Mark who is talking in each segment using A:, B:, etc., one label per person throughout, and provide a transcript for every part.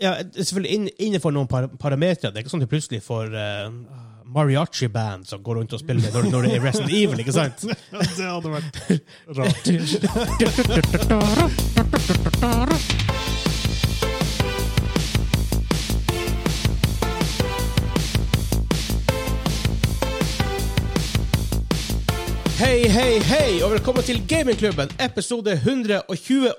A: ja, selvfølgelig inn, innenfor noen par parametere. Det er ikke sånn at du plutselig får eh, mariachi-band som går rundt og spiller når, når det er Resident Evil, ikke sant?
B: det hadde vært rart.
A: Hei, hei, hei, og velkommen til Gamingklubben, episode 128.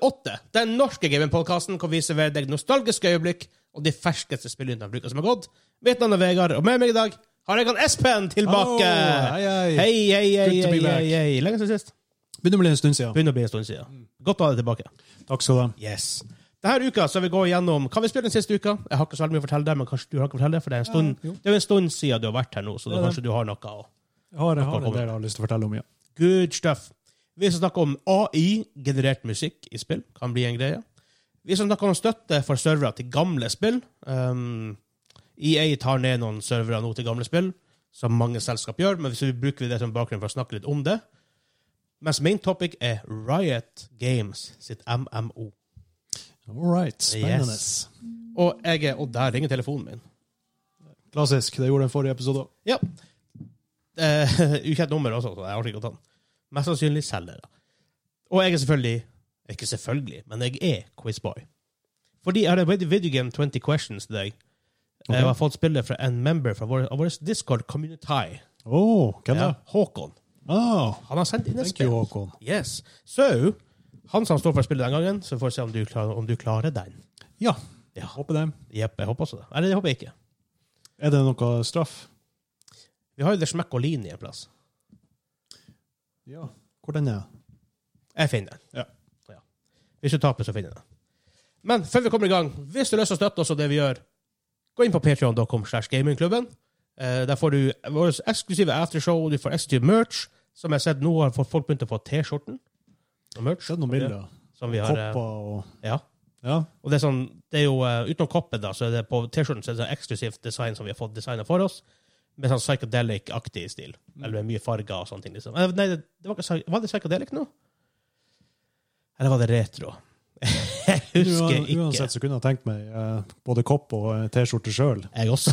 A: Den norske gamingpodkasten hvor vi serverer deg nostalgiske øyeblikk og de ferskeste spillene av uka som har gått. Mitt navn er Vegard, og med meg i dag har jeg han Espen tilbake.
B: Hallo, hei, hei.
A: hei, hei, hei,
B: Good to be
A: hei,
B: back. Mm.
A: hei, hei. Lenge siden sist.
B: Begynner å bli en stund siden.
A: Begynner å bli en stund siden. Godt å ha deg tilbake.
B: Takk skal du ha.
A: Yes. Denne uka så vil vi gå igjennom hva vi spilte den siste uka. Jeg har ikke så veldig mye å fortelle deg, men kanskje du har noe å fortelle deg, for det er en stund,
B: Ja, jo.
A: det er jo en stund siden du har vært her nå, så da
B: Det er det.
A: kanskje du har noe å
B: Jeg har, jeg har
A: Takk for
B: en del jeg har lyst til å fortelle om. ja.
A: Good stuff. Vi skal snakke om AI-generert musikk i spill. Kan bli en greie. Vi skal snakke om støtte for servere til gamle spill. Um, EA tar ned noen servere nå til gamle spill, som mange selskap gjør, men så bruker vi det som bakgrunn for å snakke litt om det. Mens main topic er Riot Games sitt MMO.
B: All right, spennende.
A: Yes. Og jeg er Og der ringer telefonen min.
B: Klassisk. Det gjorde den forrige episode òg.
A: Ja. Eh, ukjent nummer også, så jeg orker ikke å ta den. Mest sannsynlig selger det. Og jeg er selvfølgelig Ikke selvfølgelig, men jeg er quizboy. Fordi jeg har en video game 20 questions til deg. Jeg har fått spillet fra en member fra vår, av vår Discord community.
B: Oh, hvem
A: Ja,
B: da?
A: Håkon.
B: Oh,
A: Han har sendt inn et
B: thank you,
A: spill.
B: Håkon.
A: Yes. Så han som står for spillet den gangen, så får vi se om du klarer, om du klarer den.
B: Ja.
A: Ja.
B: Håper det.
A: Jepp, jeg håper også det. Eller jeg håper ikke.
B: Er det noe straff?
A: Vi har jo det smekk og lin i en plass.
B: Ja. Hvor den er
A: Jeg finner den.
B: Ja.
A: Ja. Hvis du taper, så finner jeg den. Men før vi kommer i gang, hvis du har lyst til å støtte oss og det vi gjør, gå inn på patreon.com slash gamingklubben. Eh, der får du vårt eksklusive aftershow, du får eksklusiv merch, som jeg har sett nå har fått- folk begynt å få T-skjorten. Og merch.
B: Sett noen bilder.
A: Som vi har, eh,
B: Kopper og
A: ja.
B: Ja.
A: Og det er sånn, det er jo, eh, utenom koppet da, så er det på T-skjorten så er det sånn eksklusivt design som vi har fått designet for oss, med sånn psychedelic-aktig stil. Eller med mye farger og sånne ting. Liksom. Eh, Nei, det, det var, ikke, psy- var det psychedelic nå? Eller var det retro? Jeg husker
B: Uan-
A: ikke.
B: Uansett så kunne jeg tenkt meg eh, både kopp og eh, T-skjorte sjøl.
A: Jeg også.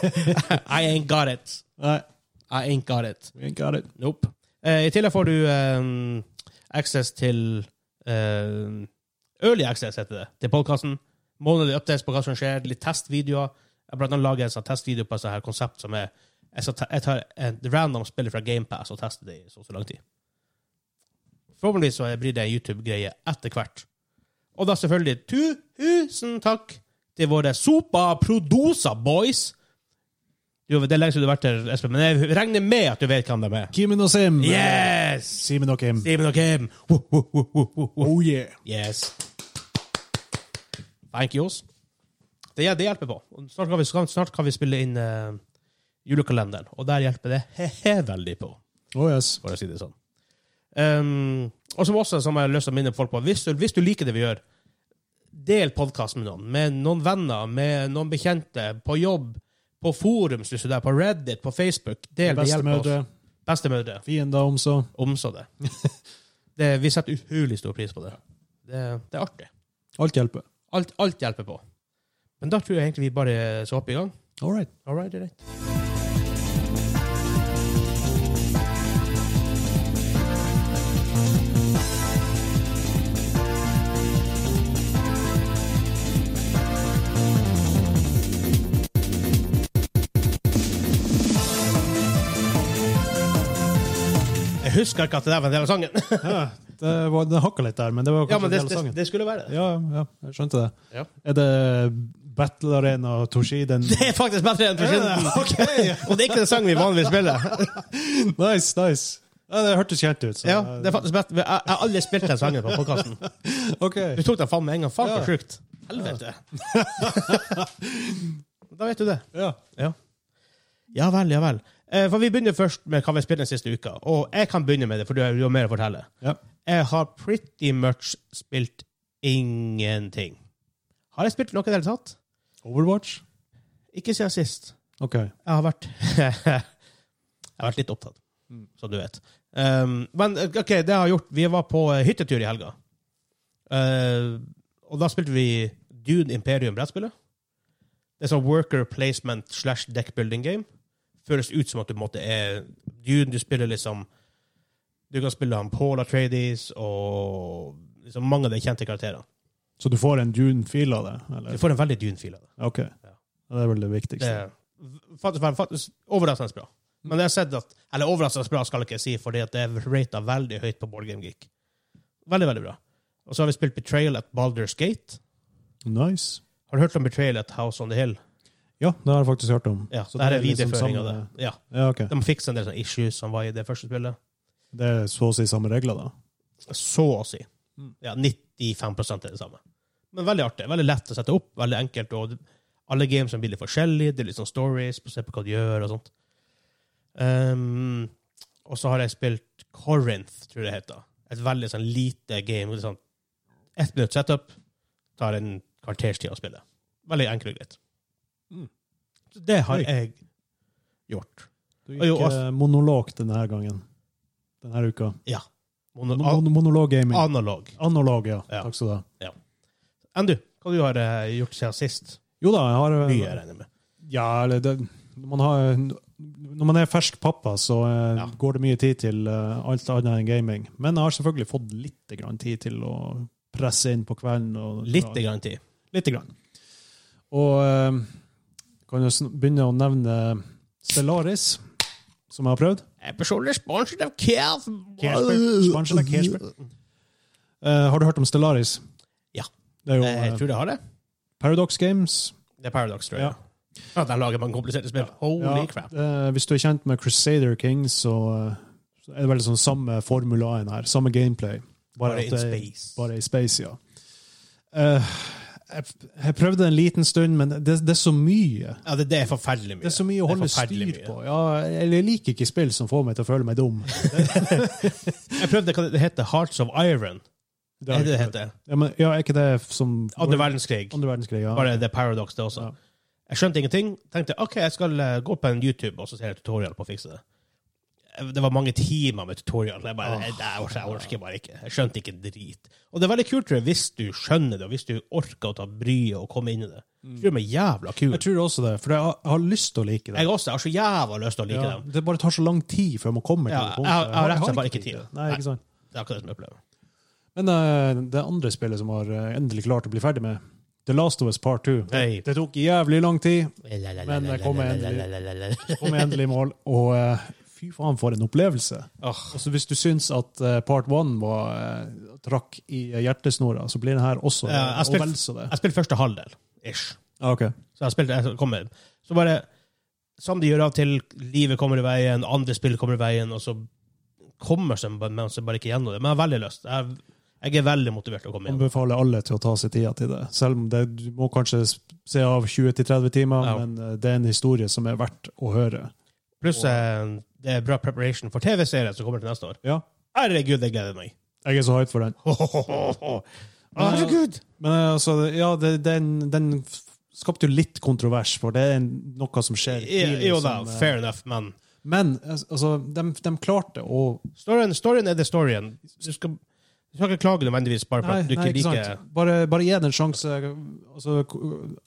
A: I ain't got it.
B: Nei,
A: I ain't got it.
B: we ain't got it.
A: Nope. Eh, I tillegg får du eh, access til eh, Early access, heter det, til podkasten. Månedlig updates på hva som skjer, litt testvideoer. Jeg blant annet lager en sånn testvideo på et sånt her konsept som er Jeg, skal ta, jeg tar et random spill fra GamePass og tester det i så og så lang tid. Forhåpentligvis så blir det en YouTube-greie etter hvert. Og da selvfølgelig tusen takk til våre Sopa Produsa Boys. Jo, det er lenge siden du har vært her, Espen, men jeg regner med at du vet hvem de er.
B: Kimen og Sim.
A: Yes!
B: Simen og Kim.
A: Steven og Kim. Woo, woo, woo, woo, woo, woo.
B: Oh yeah.
A: Yes. Thank yous. Det, det hjelper på. Og Snart kan vi, snart kan vi spille inn eh, julekalenderen, og der hjelper det he-he veldig på,
B: Oh yes.
A: for å si det sånn. Um, og som også som jeg har lyst til å minne folk på, hvis du, hvis du liker det vi gjør, del podkasten med noen. Med noen venner, med noen bekjente, på jobb, på forum, synes du der, på Reddit, på Facebook. Del, det hjelper oss.
B: Bestemødre.
A: Bestemødre
B: Fiender om så.
A: omså det. det. Vi setter utrolig stor pris på det. Det, det er artig.
B: Alt hjelper.
A: Alt, alt hjelper på. Men da tror jeg egentlig vi bare skal hoppe i gang.
B: All right.
A: All right, all right. Jeg husker ikke at det der var en del av sangen.
B: Ja, det var, det hakka litt der, men det var
A: Ja,
B: kanskje
A: men
B: en
A: det,
B: del av
A: det,
B: sangen.
A: det skulle være det.
B: Ja, ja, jeg skjønte det.
A: Ja.
B: Er det Battle Arena og Toshiden?
A: Det er faktisk bedre enn Forsvinden. Og det er ikke den sangen vi vanligvis spiller.
B: nice, nice. Ja, det hørtes kjent ut. Så.
A: Ja, det er faktisk bedre. Jeg jeg har aldri spilt den sangen på podkasten.
B: OK.
A: Du tok den faen med en gang. Faen, så
B: Ja.
A: sjukt. Helvete. Da vet du det.
B: Ja.
A: Ja. ja vel, ja vel. Eh, For vi begynner først med hva vi har spilt den siste uka. Og jeg kan begynne med det, for du har, du har mer å fortelle.
B: Ja.
A: Jeg har pretty much spilt ingenting. Har jeg spilt noe i det hele tatt?
B: Overwatch?
A: Ikke siden sist.
B: OK.
A: Jeg har vært Jeg har vært litt opptatt, som du vet. Um, men OK, det jeg har gjort Vi var på eh, hyttetur i helga. Eh, og da spilte vi Dune Imperium brettspillet. Det er sånn worker placement slash deckbuilding game. Føles ut som at du på en måte er Dune, du spiller liksom Du kan spille han Paul Atreides og liksom mange av de kjente karakterene.
B: Så du får en Dune-fil av det? Eller?
A: Du får en veldig Dune-fil av det.
B: Ok. Det er vel det
A: det
B: viktigste.
A: er faktisk, faktisk overraskende bra. Men jeg har sett at, eller overraskende bra skal jeg ikke si, fordi at det er rata veldig høyt på Board Game Geek. Veldig, veldig bra. Og så har vi spilt Betrayal at Baldur's Gate.
B: Nice.
A: Har du hørt om Betrayal at House on the Hill?
B: Ja, det har jeg faktisk hørt om.
A: Ja,
B: Så
A: det her
B: det
A: er
B: er liksom
A: videreføring av det.
B: samme-
A: Ja,
B: Ja, ok.
A: De fikser en del sånne issues som var i det første spillet.
B: Det er så å si samme regler, da.
A: Så å si.
B: Mm.
A: Ja, 95 er det samme. Men veldig artig. Veldig lett å sette opp. Veldig enkelt. Og alle games er litt forskjellige. Det er litt sånn stories. Se på hva de gjør, og sånt. Ehm, og så har jeg spilt Corinth, tror jeg det heter. Et veldig sånn lite game. Litt sånn ett minutt setup. Tar en kvarters tid å spille. Veldig enkelt og greit.
B: Mm.
A: Så det har
B: Oi.
A: jeg gjort.
B: Du
A: Og jo,
B: gikk
A: altså-
B: eh, monolog denne her gangen. Denne uka.
A: Mono
B: Mon Monolog-gaming.
A: analog.
B: Analog, ja.
A: Ja.
B: Takk skal du ha.
A: Enn du, hva du har eh, gjort siden sist?
B: Jo da, jeg har eh,
A: Mye, regner jeg med.
B: Ja, eller det, når, man har, når man er fersk pappa, så eh,
A: Ja.
B: går det mye tid til eh, alt annet enn gaming. Men jeg har selvfølgelig fått litt grann tid til å presse inn på kvelden. Og,
A: Litt grann tid.
B: Litt grann. Og eh, kan jo sn- begynne å nevne Stellaris, som jeg har prøvd.
A: Jeg personlig sponset av Kjær.
B: Kersberg. Sponset av Kersberg. Eh, har du hørt om Stellaris?
A: Ja.
B: Det er jo
A: Jeg
B: eh,
A: tror det har det.
B: Paradox Games.
A: Det er Paradox, tror jeg. At de lager mange kompliserte spill. Holy
B: Ja,
A: crap.
B: eh, hvis du er kjent med Crusader Kings, så, eh, så er det vel sånn samme formulaen her. Samme gameplay.
A: Bare
B: at
A: in
B: det er-
A: space.
B: Bare i space, ja. Eh, jeg, jeg prøvde en liten stund, men det, det er så mye.
A: Ja, det, det er forferdelig mye.
B: Det er så mye å holde
A: forferdelig
B: styr
A: mye.
B: på. Ja, jeg, jeg liker ikke spill som får meg til å føle meg dum.
A: Jeg prøvde hva det heter Hearts of Iron.
B: Det
A: Det
B: har
A: er det det
B: jeg ikke prøvd.
A: heter.
B: Ja, men, ja, er ikke det som
A: Andre verdenskrig.
B: Andre verdenskrig, ja.
A: Bare det er Paradox, det også.
B: Ja.
A: Jeg skjønte ingenting. Tenkte OK, jeg skal eh, gå på en YouTube og så ser jeg tutorial på å fikse det. Eh, Det var mange timer med tutorial. Jeg, bare, jeg, jeg, orker, jeg orker bare ikke. Jeg skjønte ikke en drit. Og det er veldig kult tror jeg, hvis du skjønner det, og hvis du orker å ta bryet og komme inn i det.
B: Mm.
A: Det gjør meg jævla kul.
B: Jeg tror også det, for jeg har, jeg har lyst til å like det.
A: Jeg også. Jeg har så jævla lyst til å like
B: ja,
A: dem.
B: det bare tar så lang tid før man kommer
A: Ja,
B: til det
A: jeg
B: punktet.
A: har- jeg har rett og slett bare ikke tid.
B: Nei,
A: Nei.
B: ikke sant.
A: Det er akkurat det som er problemet.
B: Men eh, det andre spillet som har eh, endelig klart å bli ferdig med, The Last of Us Part 2.
A: Hei.
B: Det tok jævlig lang tid, Men jeg kommer kom jeg endelig i mål, og eh, fy faen for en opplevelse.
A: Åh,
B: Altså, hvis du syns at eh, Part 1 var eh, trakk i hjertesnora, så blir den her også det,
A: Ja, jeg
B: og
A: spilte-
B: vel så det.
A: Jeg spilte første halvdel, ish.
B: Ja, ok.
A: Så jeg spilte, jeg kom med. Så bare, som de gjør av og til, livet kommer i veien, andre spill kommer i veien, og så kommer seg bare, man seg bare ikke gjennom det. Men jeg har veldig lyst. Jeg, jeg er veldig motivert til å komme gjennom.
B: Anbefaler alle til å ta seg tida til det. Selv om det, du må kanskje se av 20-30 timer,
A: Ja.
B: men eh, det er en historie som er verdt å høre.
A: Pluss eh, det er bra preparation for TV-serien som kommer til neste år.
B: Ja,
A: Herregud, jeg gleder meg.
B: jeg er så hyped for den.
A: Å, Herregud!
B: Men eh, altså, ja, det, den, den f- skapte jo litt kontrovers, for det er en- noe som skjer tidlig
A: Jo da,
B: som, eh,
A: fair enough, men
B: Men al- altså, de, de klarte å
A: storyen, storyen er det storyen. Du skal, du skal ikke klage nødvendigvis bare for
B: Nei,
A: at du
B: nei,
A: ikke
B: ikke
A: liker
B: sant. Bare, bare gi det en sjanse. Altså, ko-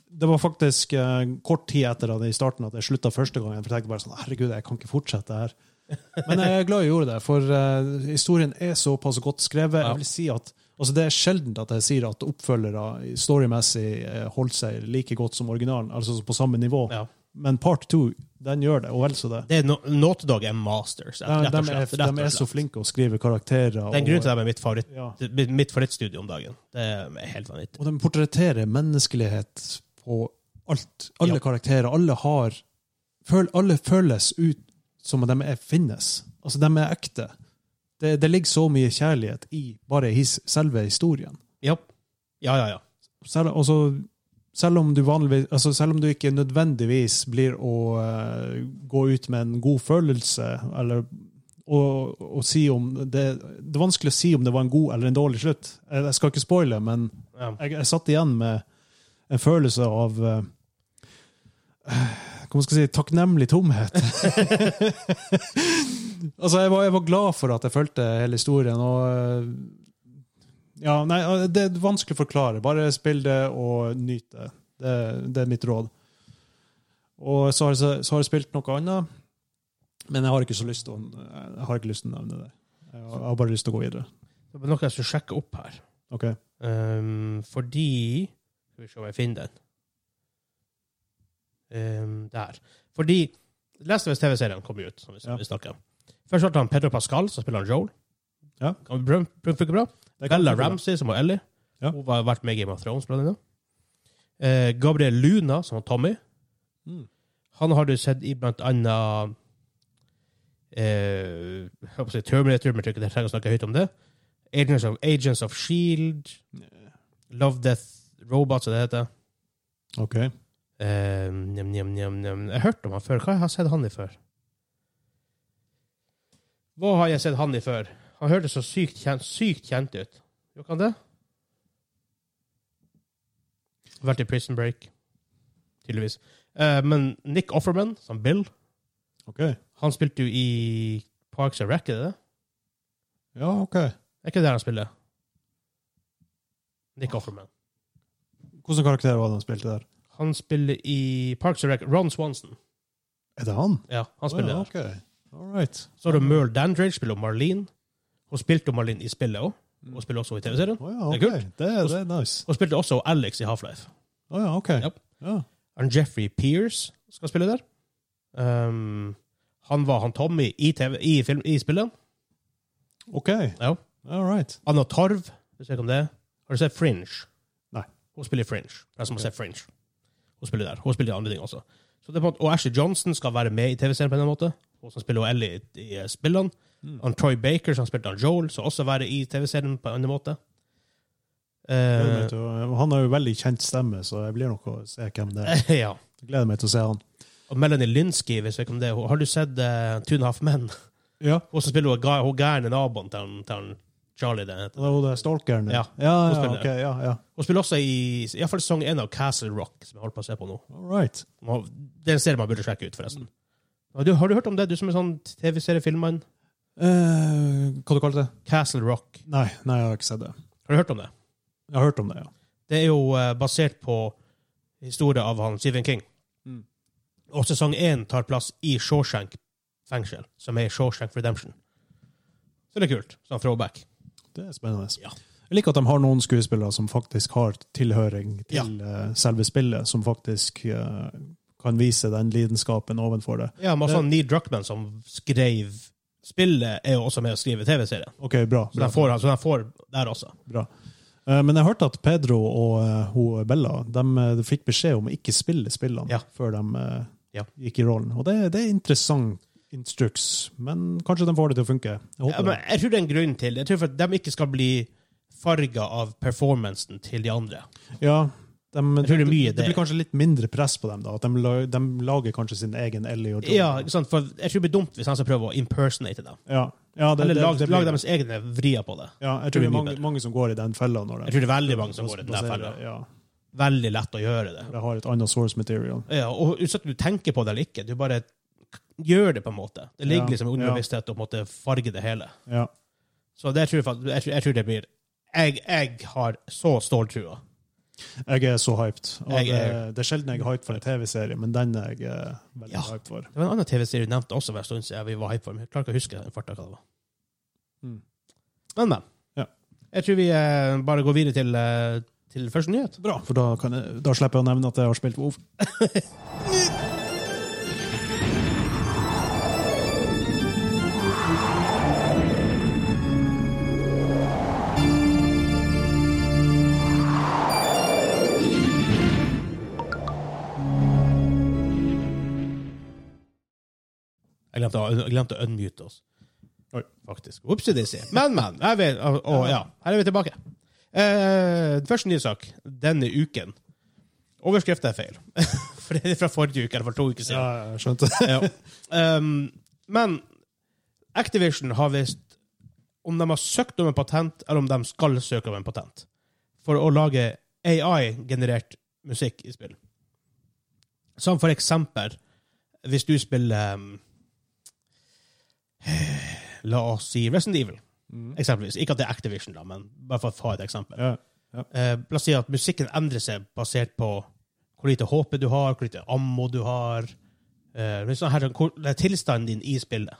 B: det var faktisk eh, kort tid etter at det i starten at jeg slutta første gangen. For jeg tenkte bare sånn Herregud, jeg kan ikke fortsette her. Men jeg er glad jeg gjorde det, for eh, historien er såpass godt skrevet.
A: Ja.
B: Jeg vil si at altså, Det er sjelden at jeg sier at oppfølgere storymessig eh, holder seg like godt som originalen, altså på samme nivå.
A: Ja.
B: Men part two, den gjør det, og vel så det.
A: Det er no, Naughty Dog er masters.
B: De,
A: rett
B: de,
A: og slett,
B: er,
A: rett og
B: de er så
A: slett.
B: flinke å skrive karakterer.
A: Det er en grunn til at de er mitt favoritt
B: og, ja.
A: Det er mitt favorittstudio om dagen. Det er helt vanvittig.
B: Og de portretterer menneskelighet på alt. Alle
A: Ja.
B: karakterer. Alle har føl, Alle føles ut som at de er, finnes. Altså, de er ekte. Det, det ligger så mye kjærlighet i bare his, selve historien.
A: Ja, ja, ja. ja.
B: Selv, altså, selv om du vanligvis altså Selv om du ikke nødvendigvis blir å eh, gå ut med en god følelse, eller og, og si om det, det er vanskelig å si om det var en god eller en dårlig slutt. Jeg, jeg skal ikke spoile, men
A: ja.
B: jeg, jeg satt igjen med en følelse av eh, Hva skal jeg si Takknemlig tomhet. altså, jeg var, jeg var glad for at jeg fulgte hele historien, og eh, Ja, nei, det er vanskelig å forklare. Bare spill det og nyt det. Det, det er mitt råd. Og så har, jeg, så har jeg spilt noe annet, men jeg har ikke så lyst til å, jeg har ikke lyst til å nevne det. Jeg har- jeg har bare lyst til å gå videre.
A: Det var noe jeg skulle sjekke opp her.
B: Ok.
A: Ehm, fordi Skal vi se om jeg finner den. Ehm, der. Fordi Last of Us TV-serien kom jo ut, som vi,
B: Ja.
A: vi snakket om. Først var det han Pedro Pascal, som spiller han Joel.
B: Ja.
A: Kan vi brun- brun- funker bra.
B: Det kan
A: Bella
B: jeg forklare.
A: Ramsey, som var Ellie.
B: Ja.
A: Hun har vært med i Game of Thrones. Blant annet. Eh, Gabriel Luna, som var Tommy.
B: Mm.
A: Han har du sett i blant annet eh, jeg håper å si Terminator, men jeg tror ikke jeg trenger å snakke høyt om det. Agents of, Agents of Shield, E Love Death Robots, som det heter.
B: Ok.
A: Eh, njem, njem, njem, njem. Jeg hørte om han før. Hva har jeg sett han i før? Hva har jeg sett han i før? Han hørtes så sykt kjent, sykt kjent ut. Gjorde han det? Vært i Prison Break, tydeligvis. Eh, men Nick Offerman, som Bill,
B: Ok.
A: han spilte jo i Parks and Rec, er det det?
B: Ja, ok.
A: Er ikke det der han spiller? Nick Offerman.
B: Hvilken karakter var det han spilte der?
A: Han spiller i Parks and Rec. Ron Swanson.
B: Er det han?
A: Ja, han spiller
B: Å,
A: der.
B: ja, ok. All right.
A: Så har du Merle Dandridge, spiller Marlene. Hun spilte jo Marlene i spillet òg,
B: Mm.
A: og spiller også i TV-serien.
B: Å ja,
A: Det er
B: ok. Det, er- det er nice.
A: Hun spilte også Alex i Half-Life.
B: Å ja, ok.
A: Japp.
B: Ja.
A: Han Jeffrey Pierce skal spille der. Ehm, han var han Tommy i, TV, i, film, i spillet.
B: Ok.
A: Ja.
B: All right.
A: Anna Torv, hvis jeg vet om det. Har du sett Fringe?
B: Nei.
A: Hun spiller i Fringe. Det er som
B: Ok.
A: å se Fringe. Hun spiller der. Hun spiller i andre ting også. Så det er på en måte, og Ashley Johnson skal være med i TV-serien på en eller annen måte. Hun som spiller Ellie i, i eh, spillene.
B: Mm.
A: Han Troy Baker, som spilte han Joel, skal også være i TV-serien på en annen måte. Eh,
B: Gleder meg til å- han har jo veldig kjent stemme, så jeg blir nok å se hvem det er.
A: ja.
B: Gleder meg til å se han.
A: Og Melanie Linsky, hvis jeg vet om det. Hun- Har du sett uh, Two and a Half Men?
B: Ja.
A: Hun som spiller hun ga- hun gærne naboen til, han- til han Charlie. Den heter.
B: Det er jo det stalkeren.
A: Ja.
B: Ja,
A: Hun
B: ja,
A: spiller.
B: ok. Ja, ja.
A: Hun spiller også i i hvert fall sesong én av Castle Rock, som jeg holder på å se på nå.
B: All right.
A: Man- Det er en serie man burde sjekke ut, forresten. Har du, har du hørt om det, du som er sånn TV-seriefilmmann?
B: Eh, hva du kalte det?
A: Castle Rock.
B: Nei, nei, jeg har ikke sett det.
A: Har du hørt om det?
B: Jeg har hørt om det, ja.
A: Det er jo eh, basert på historien av han Stephen King.
B: Mm.
A: Og sesong én tar plass i Shawshank fengsel, som er Shawshank Redemption. Så det er kult. Sånn throwback.
B: Det er spennende.
A: Ja.
B: Jeg liker at de har noen skuespillere som faktisk har tilhøring til
A: Ja.
B: eh, selve spillet, som faktisk eh, kan vise den lidenskapen ovenfor det.
A: Ja, men også Neil Druckmann, som skrev spillet, er jo også med å skrive TV-serien.
B: OK, bra.
A: Så
B: bra,
A: den får, så den får der også.
B: bra. Eh, Men jeg hørte at Pedro og eh, hun Bella de, eh, de fikk beskjed om å ikke spille spillene
A: Ja.
B: før de eh,
A: Ja.
B: gikk i rollen. Og det, det er interessant instruks, men kanskje de får det til å funke. Jeg
A: Ja,
B: håper
A: men jeg tror det er en grunn til Jeg tror for at de ikke skal bli farga av performancen til de andre.
B: det. Ja, de,
A: Jeg tror det er mye
B: det
A: det.
B: blir kanskje litt mindre press på dem, da. At de, la- de lager kanskje sin egen Ellie og Joel.
A: Ja, ikke sant? For jeg tror det blir dumt hvis han skal prøve å impersonate dem.
B: Ja. Ja, det,
A: Eller
B: det-
A: lag,
B: det blir-
A: lag deres egne vrier på det.
B: ja, jeg
A: det
B: tror det
A: blir
B: er
A: mye
B: mange,
A: bedre.
B: mange som går i den fella. Når de,
A: Jeg tror det er veldig mange som går i den der fella.
B: Ja,
A: Veldig lett å gjøre det.
B: de har et annet source material.
A: Ja, og uansett om du tenker på det eller ikke, du bare gjør det på en måte. Det ligger
B: Ja,
A: liksom
B: ja.
A: under bevissthet å på en måte farge det hele.
B: Ja.
A: Så det tror jeg, fakt- jeg, tror, jeg tror det blir Jeg, jeg har så ståltrua.
B: Jeg er så hyped. Og
A: Jeg
B: det,
A: er-
B: det er sjelden jeg er hyped for en TV-serie, men den er jeg eh, veldig
A: Ja.
B: hyped for.
A: Det var en annen TV-serie du nevnte også for en stund siden vi var hype for. men Jeg klarer ikke å huske den farta hva det var.
B: Mm.
A: Men, men.
B: Ja.
A: Jeg tror vi eh, bare går videre til, eh, til første nyhet.
B: Bra, for da, kan jeg, da slipper jeg å nevne at jeg har spilt WoW.
A: Jeg glemte, å- jeg glemte å unmute oss.
B: Oi.
A: Faktisk. Upsi daisy. Men, men. Jeg vet, å, å, ja. Her er vi tilbake. Eh, første nyhetssak denne uken. Overskriften er feil. for det er fra forrige uke, eller for to uker siden.
B: Ja, jeg skjønte.
A: ja. um, men Activision har visst om de har søkt om en patent, eller om de skal søke om en patent, for å lage AI-generert musikk i spill. Som for eksempel ehm, hvis du spiller um, La oss si Resident Evil.
B: Mm.
A: Eksempelvis. Ikke at det er Activision, da, men bare for å ta et eksempel.
B: Ja.
A: Eh, la oss si at musikken endrer seg basert på hvor lite HP du har, hvor lite ammo du har. Eh, men sånn her, hvor, det er tilstanden din i spillet.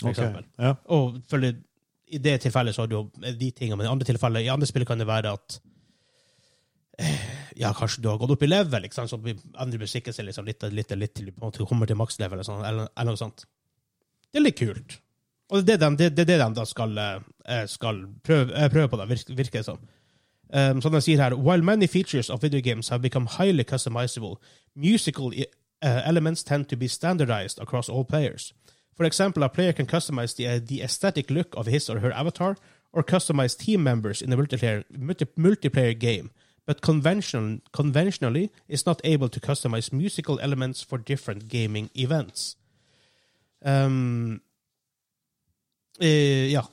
A: For
B: ok.
A: eksempel.
B: Ja.
A: Og selvfølgelig, i det tilfellet så har du jo de tingene, men i andre tilfeller, i andre spill kan det være at eh, ja, kanskje du har gått opp i level, ikke sant? så vi endrer musikken seg liksom litt og litt, og litt til du på en måte kommer til maks level, eller, sånn, eller, eller noe sånt. Det er litt kult. Og det er det de, det, det er det de da skal, eh, skal prøve, eh, prøve på, da, virker, virker det som. Um, som de sier her, while many features of video games have become highly customizable, musical eh, elements tend to be standardized across all players. For example, a player can customize the, uh, the aesthetic look of his or her avatar, or customize team members in a multiplayer, multi multiplayer game, but convention, conventionally is not able to customize musical elements for different gaming events. Um, eh, ja.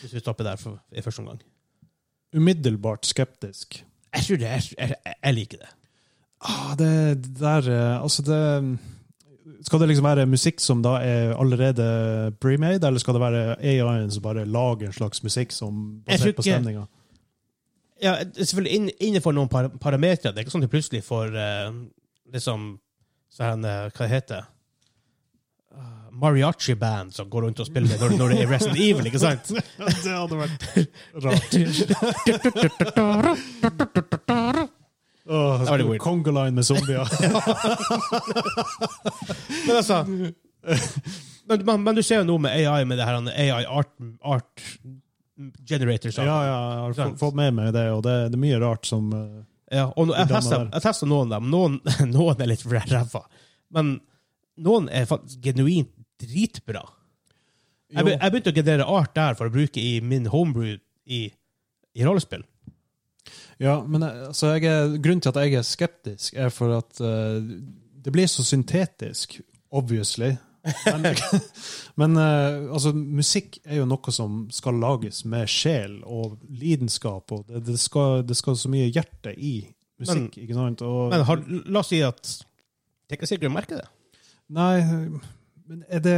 A: Hvis vi stopper der for, i første omgang.
B: Umiddelbart skeptisk.
A: Jeg tror det. Jeg, jeg, jeg liker det.
B: Ah, det, det der eh, Altså, det Skal det liksom være musikk som da er allerede pre-made, eller skal det være AI-en som bare lager en slags musikk som
A: Jeg
B: basert
A: tror
B: på
A: ikke-
B: stemninga?
A: Ja, selvfølgelig inn, innenfor noen par parametre. Det er ikke sånn at du plutselig får eh, liksom sånn, eh, Hva det heter Ah, Mariachi-band som går rundt og spiller når, når det er Resident Evil, ikke sant?
B: det hadde vært rart. Åh,
A: var litt weird.
B: Kongoline med zombier.
A: Men altså men, men, men du ser jo noe med AI, med det her AI art, art generator.
B: ja,
A: sånn.
B: ja, jeg har fått- fått med meg det, og det, det er mye rart som eh,
A: Ja, og nå- jeg
B: Hvordan
A: tester,
B: var det?
A: jeg tester noen av dem. Noen, noen er litt ræva. Men noen er faktisk genuint dritbra. Jeg, be,
B: Jo.
A: jeg begynte å generere art der for å bruke i min homebrew i, i rollespill.
B: Ja, men eh, altså, jeg er, grunnen til at jeg er skeptisk, er for at eh, det blir så syntetisk, obviously. Men, men eh, altså, musikk er jo noe som skal lages med sjel og lidenskap, og det, det, skal, det skal så mye hjerte i musikk, ikke sant? Og,
A: Men har, la oss si at det er ikke sikkert du merker det.
B: Nei, men er det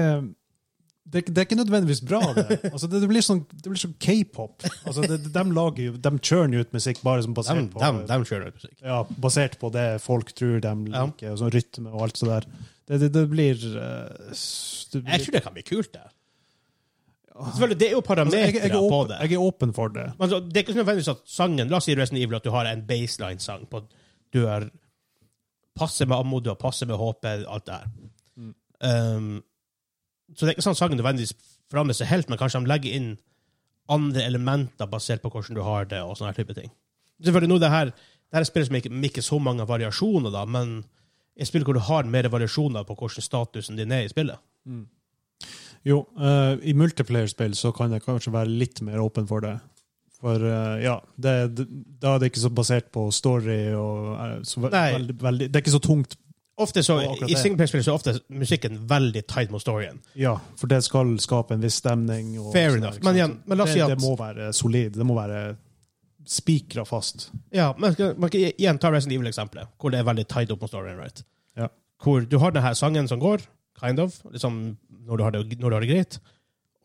B: det, er ikke- det er ikke nødvendigvis bra, det. Altså, det, det blir sånn, det blir sånn K-pop. Altså, det- de lager jo, de churner jo ut musikk bare som
A: De,
B: basert på
A: de, de kjører ut musikk.
B: ja, basert på det folk tror
A: Ja.
B: de liker, og sånn rytme og alt så der. Det, det, det blir eh, s- det blir-
A: Jeg tror det kan bli kult, det. Selvfølgelig, det er jo
B: Altså,
A: parametere
B: jeg, jeg, er
A: på
B: åpen,
A: det.
B: jeg er åpen for det.
A: Men altså, det er ikke nødvendigvis at sangen La oss si Resident Evil at du har en baseline-sang på at du er passe med ammo, du har passe med HP, alt det her.
B: Mm.
A: Um, så det er ikke sånn at sangen nødvendigvis forandrer seg helt, men kanskje de legger inn andre elementer basert på hvordan du har det, og sånne her type ting. Selvfølgelig nå det her det her er spill som ikke, med ikke så mange variasjoner, da, men et spill hvor du har mer variasjoner på hvordan statusen din er i spillet.
B: Jo, eh, i multiplayer-spill så kan jeg kanskje være litt mer åpen for det. For eh, ja, det, det, da er det ikke så basert på story og eh, så ve
A: Nei.
B: veldig, veldig Det er ikke så tungt.
A: Ofte så,
B: Og akkurat
A: I
B: det.
A: singleplayerspill så er ofte musikken veldig tight mot storyen.
B: Ja, for det skal skape en viss stemning. Og
A: Fair
B: sånn
A: enough.
B: der, ikke
A: Men
B: sant?
A: igjen, men la oss
B: det,
A: si at-
B: det må være solid. Det må være spikra fast.
A: Ja, men skal- man kan igjen ta Resident Evil-eksempelet, hvor det er veldig tied opp mot storyen. right?
B: Ja.
A: Hvor du har denne sangen som går, kind of, liksom når du har det, når du har det greit,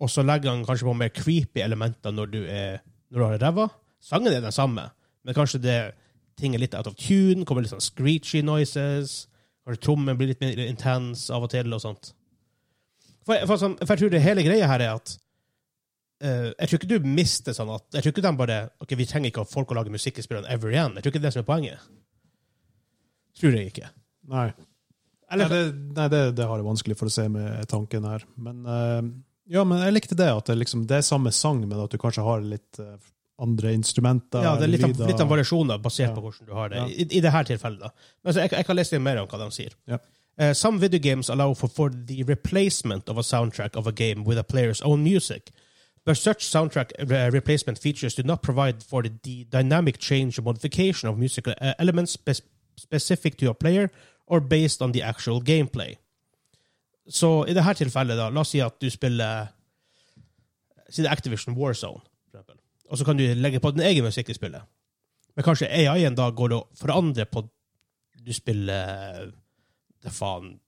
A: og så legger han kanskje på mer creepy elementer når du, er, når du har det ræva. Sangen er den samme, men kanskje det ting er litt out of tune, kommer litt sånn screechy noises, kanskje trommen blir litt mer intens av og til, og sånt. For, for, sånn- for jeg tror det hele greia her er at eh, jeg tror ikke du mister sånn at Jeg tror ikke de bare Ok, vi trenger ikke at folk å lage musikk i spillene ever igjen. Jeg tror ikke det er det som er poenget. Tror jeg ikke.
B: Nei.
A: Eller-
B: nei, det, nei det, det har jeg vanskelig for å se med tanken her. Men, eh, ja, men jeg likte det, at det, liksom, det er samme sang, men at du kanskje har litt eh, andre instrumenter.
A: Ja, det er litt, av,
B: lyder.
A: litt av variasjoner basert
B: Ja.
A: på hvordan du har det,
B: Ja.
A: i, i det her tilfellet. da. Men altså, jeg, jeg kan lese litt mer om hva de sier.
B: Ja.
A: Eh, some video games allow for, for the replacement of a soundtrack of a game with a player's own music. But such soundtrack re- replacement features do not provide for the, the dynamic change or modification of musical uh, elements spec- specific to a player or based on the actual gameplay. Så i det her tilfellet, da, la oss si at du spiller eh, Si det er Activision Warzone, for eksempel. Og så kan du legge på din egen musikk i spillet. Men kanskje AI-en da går og forandrer på Du spiller Det faen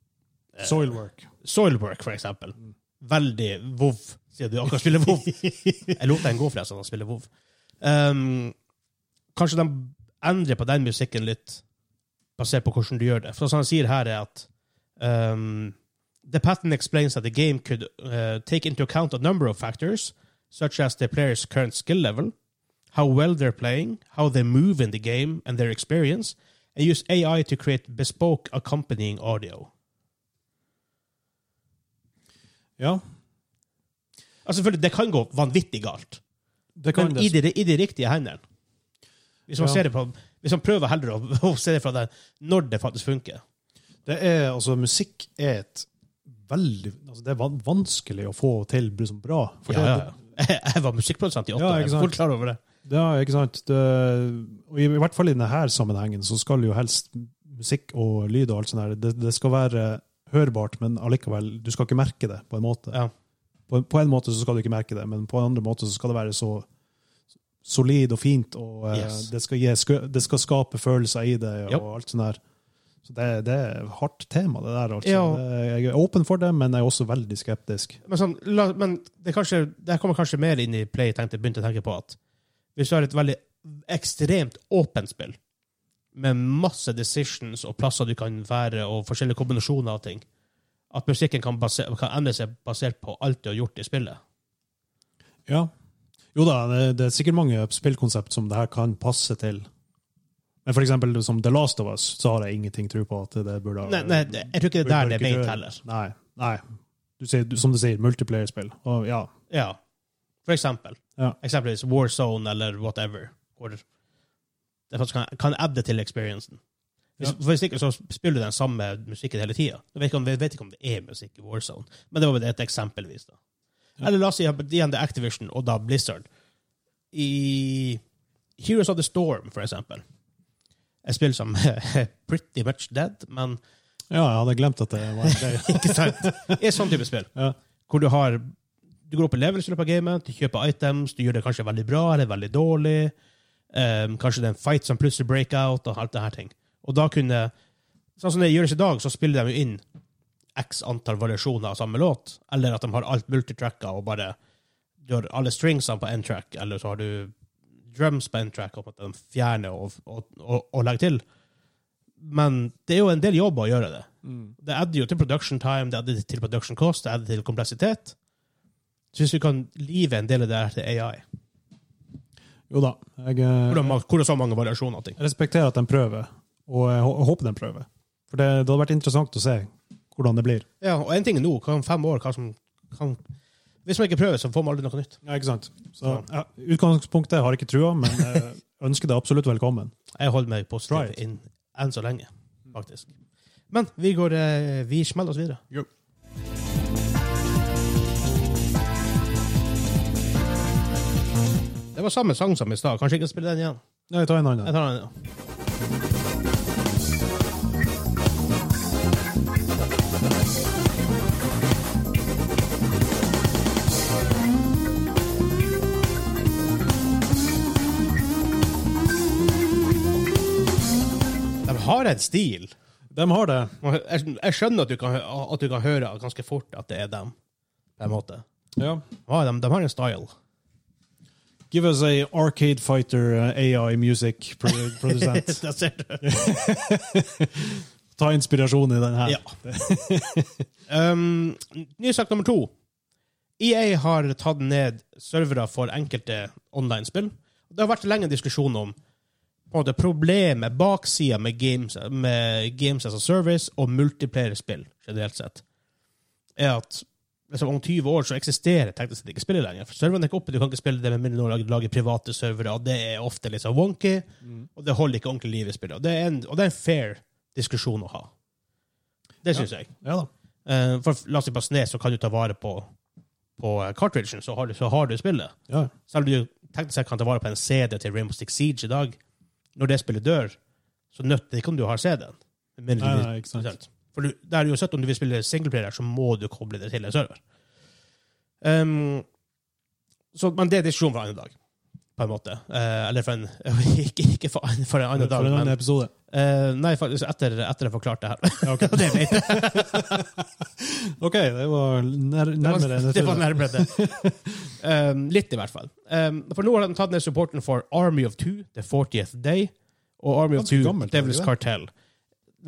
A: eh,
B: Soilwork.
A: Soilwork, for eksempel. Veldig vov siden du akkurat spiller WoW. Jeg lot den gå, forresten, å spille WoW. Ehm, kanskje de endrer på den musikken litt, basert på hvordan du gjør det. For som han sier her, er at ehm, The pattern explains that the game could uh, take into account a number of factors, such as the player's current skill level, how well they're playing, how they move in the game, and their experience, and use AI to create bespoke accompanying audio.
B: Ja,
A: Altså, selvfølgelig, det kan gå vanvittig galt.
B: det kan
A: Men i
B: det.
A: de, i de riktige hendene. Hvis man,
B: Ja.
A: ser det på, hvis man prøver heller å, å se det fra den når det faktisk funker.
B: Det er, altså, musikk er et veldig altså, Det er van- vanskelig å få til liksom, bra. For
A: Ja,
B: det-
A: ja. Jeg, jeg var musikkprodusent i åtte
B: Ja,
A: år.
B: ikke
A: Jeg er
B: sant.
A: fullt klar over det.
B: Ja, ikke sant? Det, og I i hvert fall i denne sammenhengen så skal jo helst musikk og lyd og alt sånt der, det, det skal være hørbart, men allikevel, du skal ikke merke det, på en måte.
A: Ja.
B: På, på en måte så skal du ikke merke det, men på en andre måte så skal det være så solid og fint, og eh,
A: Yes.
B: det, skal gi, skø- det skal skape følelser i det, og
A: Yep.
B: alt sånt der. Så det, det er et hardt tema, det der. Altså.
A: Ja.
B: Det, jeg er åpen for det, men jeg er også veldig skeptisk.
A: Men, sånn, la, men det, er kanskje, det her kommer kanskje mer inn i Play, tenkte jeg begynte å tenke på at hvis du har et veldig ekstremt åpent spill, med masse decisions og plasser du kan være, og forskjellige kombinasjoner av ting, at musikken kan, baser, kan endre seg basert på alt du har gjort i spillet.
B: Ja. Jo da, det, det er sikkert mange spillkonsept som det her kan passe til. Men for eksempel som The Last of Us, så har jeg ingenting tro på at det burde
A: Nei, nei, jeg tror ikke det er der det er ment heller.
B: Nei. nei. Du sier, du, som du sier, multiplayerspill. Og ja.
A: Ja. For eksempel.
B: Ja.
A: Eksempelvis Warzone eller whatever. Hvor det faktisk kan, kan adde til experiencen. Hvis, for hvis ikke så spiller du den samme musikken hele tida. Jeg vet ikke om, jeg vet ikke om det er musikk i Warzone, men det var vel et eksempelvis. da.
B: Ja.
A: Eller la oss si at det igjen det er Activision og da Blizzard. I Heroes of the Storm, for eksempel. Et spill som er pretty much dead, men
B: ja, jeg hadde glemt at det var en greie.
A: ikke sant? I sånn type spill.
B: Ja.
A: Hvor du har du går opp i levels i løpet av gamet, du kjøper items, du gjør det kanskje veldig bra eller veldig dårlig. Ehm, kanskje det er en fight som plutselig break out, og alt det her ting. Og da kunne Sånn som det gjøres i dag, så spiller de jo inn x antall variasjoner av samme låt, eller at de har alt multitracka og bare Du har alle stringsene på én track, eller så har du drums på én track, og på en måte de fjerner og, og, og, og legger til. Men det er jo en del jobb å gjøre det.
B: Mm.
A: Det adder jo til production time, det adder til production cost, det adder til kompleksitet. Så hvis vi kan live en del av det her til AI
B: Jo da. Jeg,
A: Hvor det er
B: eh,
A: ma- hvor det er så mange variasjoner av ting.
B: jeg respekterer at de prøver, og jeg, hå- jeg håper de prøver. For det, det hadde vært interessant å se hvordan det blir.
A: Ja, og en ting er nå, hva om fem år hva som kan, Hvis man ikke prøver, så får man aldri noe nytt.
B: Ja, ikke sant? Så, ja, utgangspunktet har jeg ikke trua, men jeg ønsker det absolutt velkommen.
A: Jeg holder meg positiv
B: Right.
A: inn enn så lenge, faktisk. Men vi går eh, Vi smeller oss videre.
B: Jo.
A: Det var samme sang som i stad. Kanskje ikke spille den igjen.
B: Nei, ta en annen.
A: Jeg tar den. ja. De har en stil.
B: De har det.
A: Man- Jeg jeg skjønner at du kan, hø- at du kan høre ganske fort at det er dem. På en måte.
B: Ja.
A: Ja, de, de har en style.
B: Give us a Arcade Fighter uh, AI music pro- produsent.
A: Der ser du.
B: Ta inspirasjon i den her.
A: Ja. um, ny sak nummer to. EA har tatt ned servere for enkelte online-spill. Det har vært lenge diskusjon om på en måte, problemet, baksida med games, med games as a service og multiplayer-spill generelt sett. Er at liksom, om 20 år så eksisterer teknisk sett ikke spillet lenger. For serverne er ikke oppe, du kan ikke spille det med mindre noen lager, lager private servere, og det er ofte litt sånn wonky, og det holder ikke ordentlig liv i spillet. Og det er en, og det er en fair diskusjon å ha. Det syns jeg.
B: Ja da.
A: Eh, for la oss si på Snes, så kan du ta vare på, på eh, cartridgen, så har, du, så har du spillet.
B: Ja.
A: Selv om du teknisk sett kan ta vare på en CD til Rainbow Six Siege i dag, når det spillet dør, så nytter det ikke om du har CD-en. Med mindre
B: Nei,
A: du-
B: nei, ikke sant.
A: For du, det er uansett om du vil spille singleplayer, så må du koble det til en server. Ehm, så, men det er diskusjon for en annen dag, på en måte. Eh, eller for en ikke, ikke for, en- for en annen
B: For
A: dag,
B: en
A: men
B: annen episode.
A: Eh, nei, faktisk etter, etter jeg forklarte det her.
B: Ja, ok.
A: det vet jeg.
B: OK, det var nær,
A: Det var,
B: nærmere enn jeg
A: det var
B: trodde.
A: nærmere det. Um, litt, i hvert fall. Um, for nå har de tatt ned supporten for Army of Two, The 40th Day, og Army of
B: Ganske
A: Two,
B: gammelt, er det
A: Devil's
B: ikke
A: Cartel.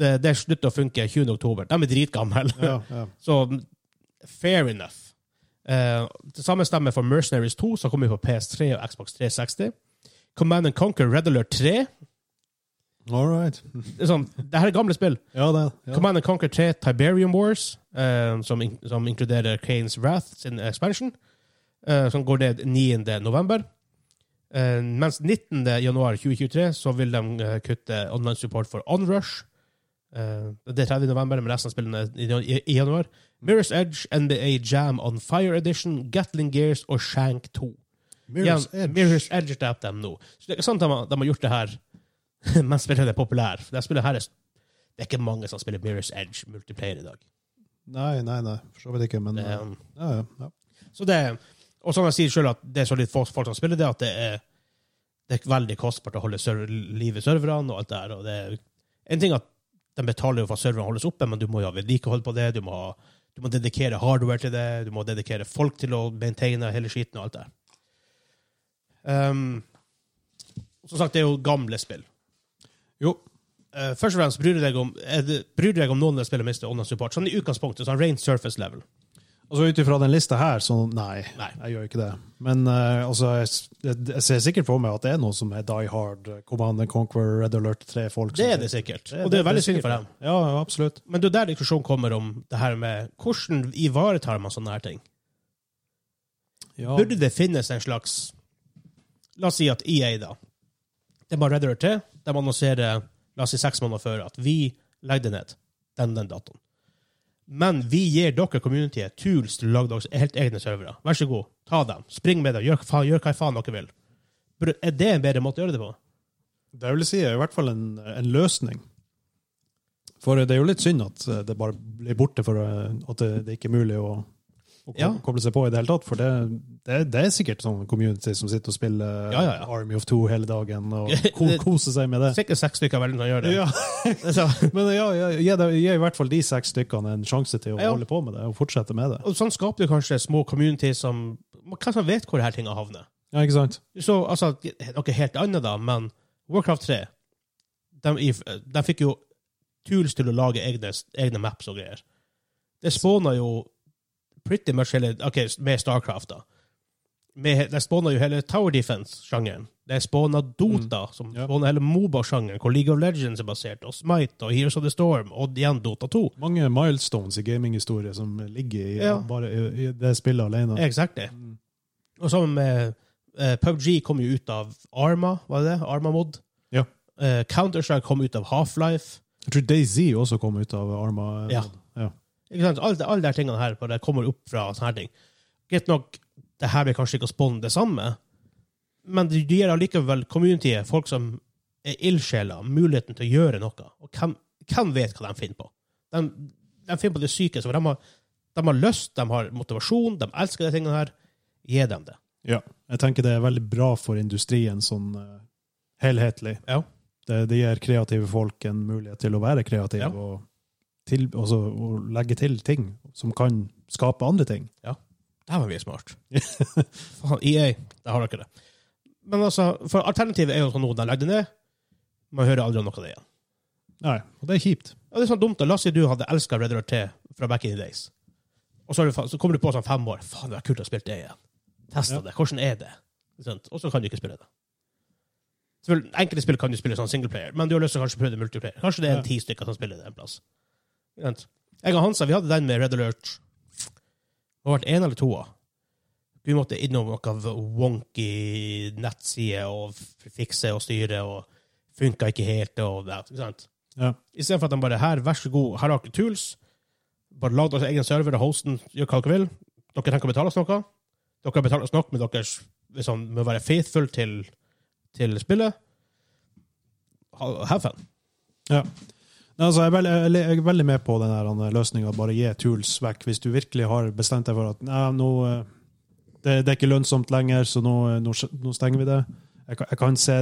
A: Det, det slutter å funke 20. oktober. De er dritgamle.
B: Ja, ja.
A: Så fair enough. Eh, det samme stemmer for Mercenaries 2, som kommer på PS3 og Xbox 360. Command and Conquer Red Alert 3.
B: All right.
A: Det er sånn, det her er gamle spill.
B: Ja, det. Ja.
A: Command and Conquer 3 Tiberium Wars, eh, som, in som inkluderer Kanes Wrath sin expansion, eh, som går ned 9. november. Eh, mens 19. januar 2023 så vil de eh, kutte online support for Onrush. Eh, det er 30. november, men resten av spillene er i, i, i januar. Mirror's Edge, NBA Jam on Fire Edition, Gatling Gears og Shank 2.
B: Mirror's
A: Igjen,
B: Edge.
A: Mirror's Edge drepte dem nå. Så det er ikke sant de har, de har gjort det her mens spillet er populært. For Det, spillet her er, det er ikke mange som spiller Mirror's Edge multiplayer i dag.
B: Nei, nei, nei. For så vidt ikke, men ja,
A: Um,
B: ja, ja.
A: så det, og som jeg sier selv, at det er så litt folk, folk som spiller det, at det er, det er veldig kostbart å holde server, liv i serverne og alt det der. Og det er en ting at de betaler jo for at serverne holdes oppe, men du må jo ha vedlikehold på det, du må, ha- du må dedikere hardware til det, du må dedikere folk til å maintaine hele skiten og alt det der. Um, som sagt, det er jo gamle spill.
B: Jo.
A: Eh, først og fremst bryr du deg om, er det, bryr du deg om noen av spillene mister online support. Sånn i utgangspunktet, sånn rent surface level.
B: Altså Ut ifra den lista her, så nei,
A: Nei.
B: jeg gjør ikke det. Men eh, altså, jeg, s- jeg, jeg ser sikkert for meg at det er noen som er Die Hard, Command and Conquer, Red Alert 3-folk.
A: Det er det sikkert. Og det er veldig synd for dem.
B: Ja, ja, absolutt.
A: Men det er der diskusjonen kommer om det her med hvordan ivaretar man sånne her ting.
B: Ja.
A: Burde det finnes en slags La oss si at EA, da. Det bare redder til. De annonserer la oss si seks måneder før at vi legger det ned den den datoen. Men vi gir dere communityet tools til å lage deres helt egne servere. Vær så god, ta dem. Spring med dem. Gjør, faen, gjør hva faen dere vil. Burde- Er det en bedre måte å gjøre det på?
B: Det vil jeg si er i hvert fall en, en løsning. For det er jo litt synd at eh, det bare blir borte, for eh, at det, det ikke er mulig å, å ko-
A: Ja.
B: koble seg på i det hele tatt. For det, det, det er sikkert sånn community som sitter og spiller eh,
A: Ja, ja, ja.
B: Army of Two hele dagen og ko, koser seg med det.
A: Sikkert seks stykker av verden som gjør det.
B: Ja.
A: Så-
B: Men ja, ja, gi det- gi i hvert fall de seks stykkene en sjanse til å
A: Ja.
B: holde på med det og fortsette med det.
A: Og sånn skaper du kanskje små communities som Hvem som vet hvor det her tinga havner?
B: Ja, ikke sant?
A: Så altså, Noe helt annet, da, men Warcraft 3 de, i- de fikk jo tools til å lage egne, egne maps og greier. Det spåna jo pretty much hele OK, med Starcraft, da. Med, det spåna jo hele Tower Defense-sjangeren. Det spåna Dota, som
B: Ja.
A: spåna hele Moba-sjangeren, hvor League of Legends er basert, og Smite og Heroes of the Storm, og igjen Dota 2.
B: Mange milestones i gaminghistorie som ligger i,
A: Ja.
B: bare i, i det spillet alene.
A: Exactly. Og sammen med eh, PubG kom jo ut av Arma, var det det? Arma Mod.
B: Ja.
A: Eh, Counter-Strike kom ut av Half-Life.
B: Jeg tror DayZ også kom ut av Arma. eh,
A: Ja. Ikke sant? Alle all de her tingene her på det kommer opp fra sånne her ting. Greit nok, det her blir kanskje ikke å spåne det samme, men det det gir allikevel communityet, folk som er ildsjeler, muligheten til å gjøre noe. Og hvem, hvem vet hva de finner på? De, de finner på det syke, så de har, de har lyst, de har motivasjon, de elsker de tingene her. Gi dem det.
B: Ja. Jeg tenker det er veldig bra for industrien sånn eh, helhetlig.
A: Ja.
B: Det, det gir kreative folk en mulighet til å være kreative
A: Ja.
B: og, til, altså, og legge til ting som kan skape andre ting.
A: Dæven, vi er smart. Faen, EA, det har dere det. Men altså, for alternativet er jo sånn noe de legger det ned. Man hører aldri om noe av det igjen.
B: Nei, og det er kjipt.
A: Og det er sånn dumt, da. La oss si du hadde elska Red Alert 3 fra back in the days. Og så, er du, fa- så kommer du på sånn fem år. Faen, det er kult å ha spilt det igjen. Testa
B: Ja.
A: det. Hvordan er det? Ikke sant? Og så kan du ikke spille det. Selvfølgelig, Enkelte spill kan du spille sånn singleplayer, men du har lyst til å kanskje prøve det multiplayer. Kanskje det er
B: Ja.
A: en ti stykker som spiller det en plass. Ikke sant? Jeg og Hansa vi hadde den med Red Alert. Det har vært én eller to. Vi måtte innom noe wonky nettside og f- fikse og styre, og funka ikke helt. og det, ikke sant?
B: Ja.
A: Istedenfor at de bare her, vær så god, her har dere tools. Bare lag deres egen server, host den, gjør hva dere vil. Dere trenger ikke å betale oss noe. Dere betaler oss nok med deres liksom, med å være faithful til, til spillet. Ha- Have fun.
B: Nei, Altså, jeg, er veldig, jeg er veldig med på den løsninga bare gi tools vekk, hvis du virkelig har bestemt deg for at nei, nå, eh, det, det er ikke lønnsomt lenger, så nå, eh, nå, s- nå stenger vi det. Jeg, kan- jeg kan se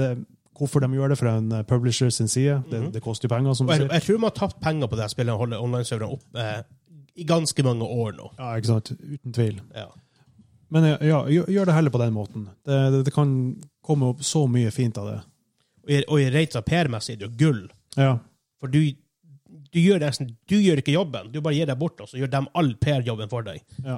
B: hvorfor de gjør det fra en eh, publisher sin side.
A: Mhm.
B: Det, det koster jo penger, som
A: Og
B: du
A: jeg,
B: sier.
A: jeg tror man har tapt penger på det her spillet og holder online-serverne oppe eh, i ganske mange år nå.
B: Ja, ikke sant? Uten tvil.
A: Ja.
B: Men ja, ja, gjør- gjør det heller på den måten. Det, det, det kan komme opp så mye fint av det.
A: Og i, og i rate av PR-messig er det jo gull.
B: Ja.
A: For du, du, gjør nesten, du gjør ikke jobben. Du bare gir deg bort, og så gjør de all PR-jobben for deg.
B: Ja.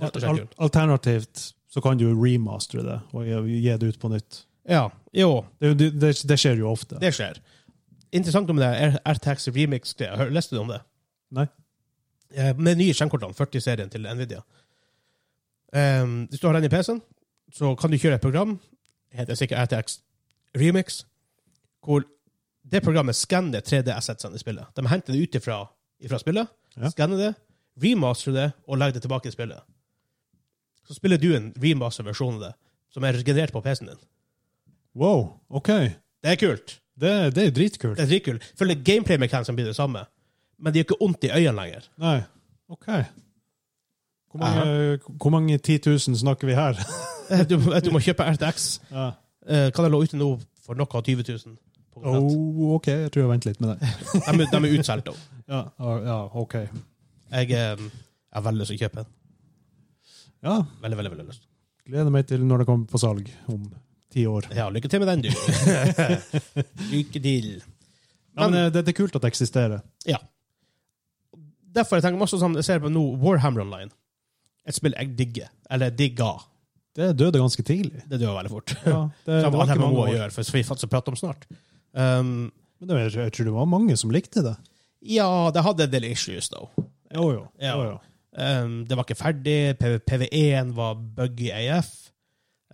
A: Rett og slett gull.
B: Al- Alternativt så kan du remastere det og gi gi det ut på nytt.
A: Ja, jo,
B: Det, er jo- det, det, det skjer jo ofte.
A: det skjer. Interessant om det er RTX Remix. det. Hør- Leste du om det?
B: Nei.
A: Eh, Med nye skjermkortene, 40-serien til Nvidia. Ehm, hvis du har den i PC-en, så kan du kjøre et program, heter sikkert RTX Remix, hvor det programmet skanner 3D-assetsene i spillet. De henter det ut ifra, ifra spillet,
B: Ja.
A: skanner det, remasterer det og legger det tilbake i spillet. Så spiller du en remaster-versjon av det, som er generert på PC-en din.
B: Wow, OK.
A: Det er kult.
B: Det, det er dritkult.
A: Det er dritkult. Følger gameplay-mekanismen blir det samme, men det gjør ikke vondt i øynene lenger.
B: Nei, OK. Hvor mange, hvor mange 10 000 snakker vi her?
A: Du, du må kjøpe RTX.
B: Ja.
A: Eh, kan jeg lå ute nå for noe av 20 000? På kontrakt.
B: Oh, OK, jeg tror jeg venter litt med det.
A: de, er- de er utsolgt òg.
B: Ja, ja, ja OK.
A: Jeg eh, jeg har veldig lyst til å kjøpe en.
B: Ja,
A: Veldig, veldig, veldig lyst.
B: gleder meg til når det kommer på salg om ti år.
A: Ja, lykke til med den, du. lykke til.
B: Ja,
A: Men-
B: men eh, det, det er kult at det eksisterer.
A: Derfor jeg tenker masse sånn, jeg ser på nå Warhammer Online. Et spill jeg digger. Eller digga.
B: Det døde ganske tidlig.
A: Det dør veldig fort.
B: Ja, Eh, det,
A: Så
B: det
A: det var
B: var
A: det
B: ikke
A: man
B: mange
A: må
B: år.
A: gjøre, for vi faktisk prater om snart. Um,
B: Men det, var- jeg tror det var mange som likte det.
A: ja, det hadde en del issues, da.
B: Jo, jo.
A: Ja.
B: jo, jo.
A: Um, det var ikke ferdig. PV PVE-en var buggy AF.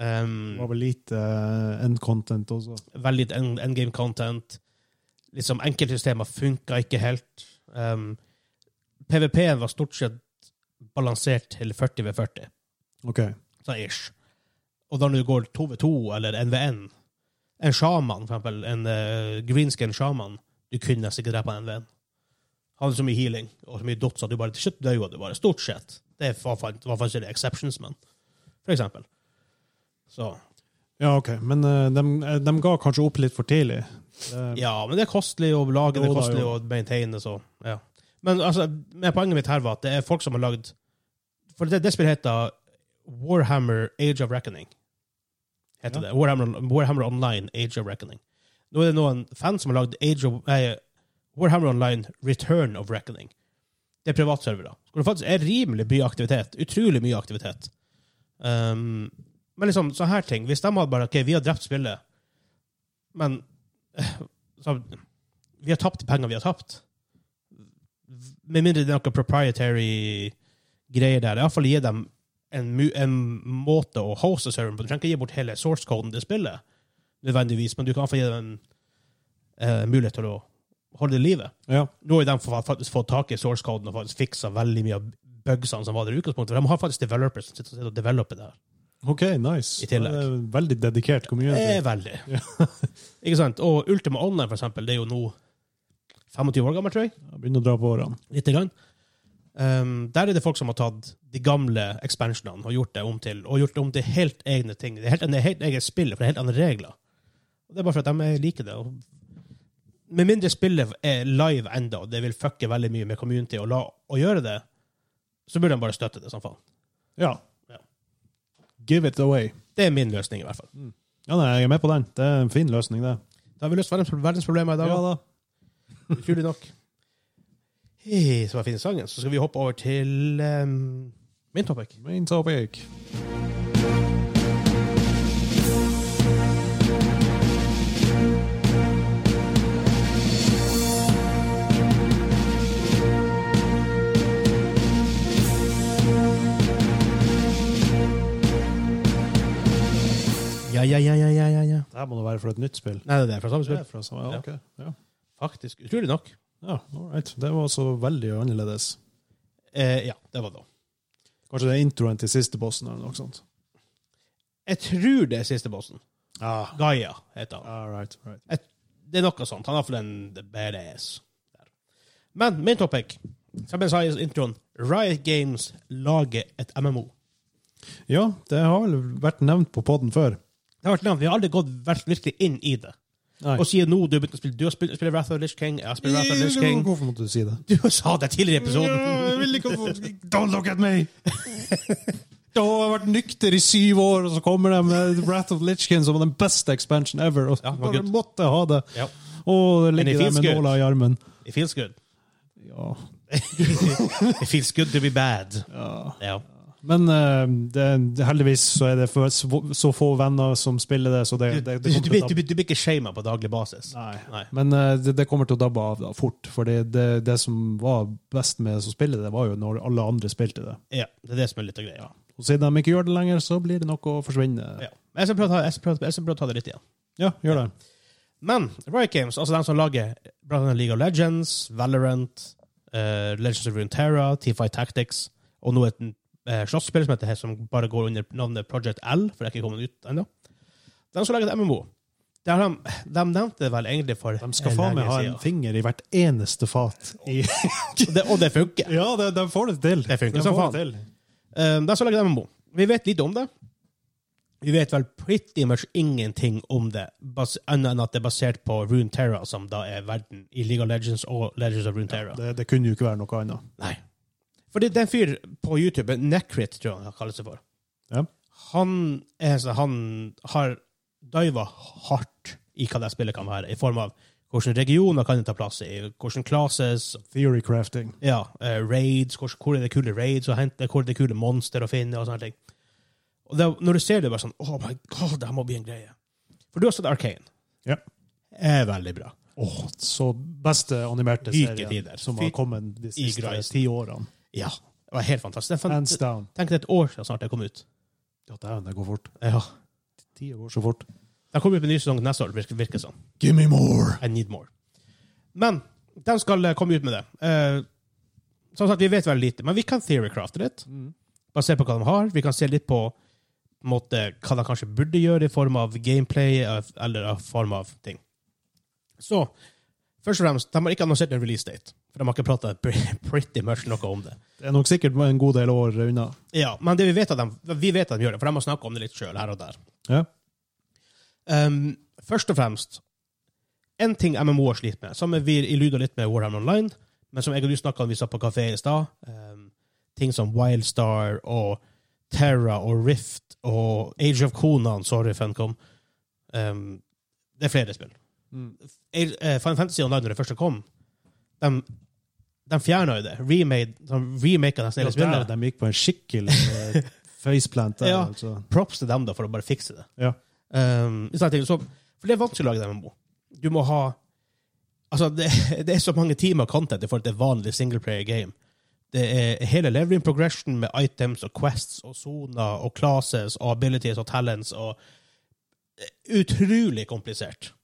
A: Um,
B: Det var vel lite eh, end content også.
A: veldig lite end- endgame content. Liksom Enkeltsystemer funka ikke helt. Um, PVP-en var stort sett balansert til 40 ved 40,
B: OK.
A: sånn ish. Og da når du går 2 ved 2 eller NVN En sjaman, for eksempel, en eh, greenskin sjaman, du kunne nesten ikke drepe en NVN. Han hadde så mye healing og så mye dots at du bare til slutt døde du bare. Stort sett. Det var fakt- var faktisk exceptions, men for eksempel. Så
B: Ja, OK. Men eh, de, eh, de ga kanskje opp litt for tidlig. Det-
A: Ja, men det er kostelig å lage, det
B: Jo
A: er
B: da,
A: kostelig å
B: jo.
A: maintaine, så ja. Men altså, men poenget mitt her var at det er folk som har lagd For det, det spillet heter Warhammer Age of Reckoning. Heter
B: Ja.
A: det. Warhammer, Warhammer Online Age of Reckoning. Nå er det noen fans som har lagd Age of nei, Warhammer Online Return of Reckoning. Det er privatservere. Hvor det faktisk er rimelig mye aktivitet. Utrolig mye aktivitet. Um, men liksom, sånne her ting Hvis de hadde bare OK, vi har drept spillet, men eh, så, Vi har tapt de pengene vi har tapt. Med mindre det er noe proprietary greier der. Iallfall gi dem en, mu- en måte å hoste serveren på. Du trenger ikke gi bort hele source-koden til spillet, nødvendigvis, men du kan iallfall gi dem en eh, mulighet til å holde det i live.
B: Ja.
A: Nå har de fa- faktisk fått tak i source-koden og faktisk fiksa veldig mye av bugsene som var der i utgangspunktet. For de har faktisk developers som sitter og- sitter og developer det her.
B: OK, nice.
A: I tillegg. Eh.
B: Det er Veldig dedikert
A: Det
B: community.
A: er veldig. Ikke sant? Og Ultima Online, for eksempel, det er jo nå 25 år gammel, tror jeg.
B: Jeg Begynner å dra på årene.
A: Lite grann. Um, der er det folk som har tatt de gamle expansionene og gjort det om til og gjort det om til helt egne ting. Det er helt, det er helt eget spill, for det er helt andre regler. Og det er bare for at de liker det. Og med mindre spillet er live enda, og det vil fucke veldig mye med community å, la, å gjøre det, så burde de bare støtte det som faen.
B: Ja.
A: Ja.
B: Give it away.
A: Det er min løsning, i hvert fall.
B: Ja, nei, jeg er med på den. Det er en fin løsning, det.
A: Da har vi løst verdens- verdensproblemer i dag.
B: Ja da.
A: Utrolig nok. Hei, så var fin sangen. Så skal vi hoppe over til ehm, min topic.
B: Main topic.
A: Ja, ja, ja, ja, ja, ja, ja.
B: Det her må nå være for et nytt spill.
A: Nei, det er fra samme
B: Det er
A: spill.
B: fra samme,
A: Ja.
B: ja, ok. Ja.
A: Faktisk. Utrolig nok.
B: ja, all right. Det var så veldig annerledes.
A: Eh, ja, det var det.
B: Kanskje det er introen til siste bossen eller noe sånt.
A: Jeg tror det er siste bossen.
B: Ah.
A: Gaia heter han.
B: All right, all right.
A: Det er noe sånt. Han har fått en badass. Der. Men min topic, som jeg sa i introen, Riot Games lager et MMO.
B: Ja, det har vel vært nevnt på podden før.
A: Det har vært nevnt. Vi har aldri gått vært virkelig inn i det.
B: Nei.
A: Og sier nå du har begynt å spille Du har spilt, spiller Wrath of Lish King. Jeg spiller Wrath of Lish King.
B: Hvorfor måtte du si det?
A: Du sa det tidligere i episoden.
B: Jeg vil ikke få Don't look at me! Da har jeg vært nykter i syv år, og så kommer de med Wrath of Litchkin som den beste expansion ever. Og
A: Ja,
B: så
A: det var
B: bare
A: good.
B: måtte jeg ha det.
A: Ja.
B: Og
A: Men
B: det
A: det
B: ligger der
A: finnes
B: med
A: good.
B: nåla i armen.
A: It feels good.
B: Ja.
A: It feels good to be bad.
B: Ja.
A: Ja.
B: Men eh, det, heldigvis så er det for, så få venner som spiller det, så det,
A: Du,
B: det,
A: du,
B: det
A: du,
B: kommer til å
A: blir- du,
B: dabbe.
A: blir- du blir ikke shama på daglig basis.
B: Nei.
A: Nei.
B: Men eh, det, det kommer til å dabbe av da, fort, for det, det, det som var best med å spille det, var jo når alle andre spilte det.
A: Ja, det er det som er litt av greia.
B: Og siden de ikke gjør det lenger, så blir det noe å forsvinne.
A: Ja. Men Jeg skal prøve å ta- jeg skal prøve- jeg skal prøve å ta det litt igjen.
B: Ja, gjør det.
A: Men Riot Games, altså de som lager blant annet League of Legends, Valorant, eh, Legends of Runeterra, T5 Tactics, og nå et uh, slåsspill som heter som bare går under navnet Project L, for det er ikke kommet ut ennå. De som lager et MMO, de, de, de nevnte vel egentlig for
B: De skal faen meg ha en finger i hvert eneste fat. I,
A: Og det, og det funker.
B: ja, de, de får det til.
A: Det funker
B: De
A: som
B: får
A: faen.
B: det til.
A: Eh, de som lager et MMO. Vi vet lite om det. Vi vet vel pretty much ingenting om det, bas- annet enn at det er basert på Runeterra, som da er verden i League of Legends og Legends of Runeterra.
B: Det, det kunne jo ikke være noe annet.
A: Nei. Fordi den fyr på YouTube, Necrit, tror jeg han kaller seg for,
B: Ja.
A: han, er, så- han har diva hardt i hva det spillet kan være, i form av hvilke regioner kan det ta plass i, hvilke classes,
B: Theory crafting.
A: ja, eh, raids, hvor, hvor er det kule raids å hente, hvor er det kule monster å finne, og sånne ting. Og det, når du ser det, bare sånn Oh my god, det her må bli en greie. For du har sett Arcane.
B: Ja.
A: Er veldig bra.
B: Åh, så beste animerte
A: Like
B: serien
A: tider.
B: som
A: Fy-
B: har kommet de
A: i
B: siste
A: greisen.
B: ti årene.
A: Ja. Det var helt fantastisk. Det er fan-
B: Hands down.
A: Tenk det er et år siden snart det kom ut.
B: Ja, dæven, det går fort.
A: Ja.
B: Ti år så fort.
A: Det kommer ut en ny sesong neste år, virker, virker det sånn.
B: Give me more!
A: I need more. Men de skal eh, komme ut med det. Eh, som sagt, Vi vet veldig lite, men vi kan theorycrafte litt. Basert på hva de har. Vi kan se litt på, på en måte, hva de kanskje burde gjøre i form av gameplay eh, eller i form av ting. Så først og fremst, de har ikke annonsert en release date. For de har ikke prata pretty much noe om det.
B: Det er nok sikkert en god del år unna.
A: Ja, Men det vi vet at de, vi vet at de gjør det, for de har snakka om det litt sjøl her og der.
B: Ja.
A: Um, først og fremst, en ting MMO-er sliter med, som vi illuda litt med Warhammer Online, men som jeg og du snakka om vi satt på kafé i stad, um, ting som Wildstar og Terra og Rift og Age of Conan, sorry, Funcom um, Det er flere spill.
B: Mm.
A: Age- eh, Final Fantasy Online, når det første kom, de, de fjerna jo det. Remade, de remaka nesten
B: Ja,
A: hele
B: der,
A: spillet.
B: de gikk på en skikkelig eh, faceplant der,
A: Ja.
B: altså.
A: props til dem da, for å bare fikse det.
B: Ja.
A: Um, i stedet til- så, for det er vanskelig å lage en MMO. Du må ha Altså, det, det er så mange timer content i forhold til et vanlig singleplayer game. Det er hele leveling progression med items og quests og soner og classes og abilities og talents og eh, Utrolig komplisert.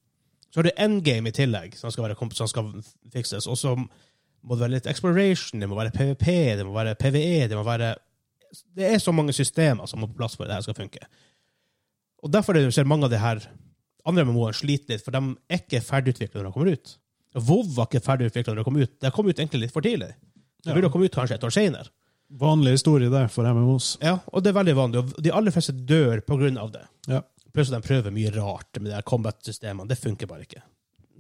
A: Så har du endgame i tillegg, som skal, være, komp- som skal fikses. Og så må det være litt exploration, det må være PVP, det må være PVE, det må være det er så mange systemer som må på plass for at det her skal funke. Og derfor er det du ser mange av de her andre MMO-ene sliter litt, for de er ikke ferdigutvikla når de kommer ut. WoW var ikke ferdigutvikla når de kom ut. Det kom ut egentlig litt for tidlig. Det
B: Ja.
A: burde komme ut kanskje et år senere.
B: Vanlig historie der for MMOs.
A: Ja, og det er veldig vanlig. Og de aller fleste dør på grunn av det.
B: Ja.
A: Pluss at de prøver mye rart med de her combat-systemene. Det funker bare ikke.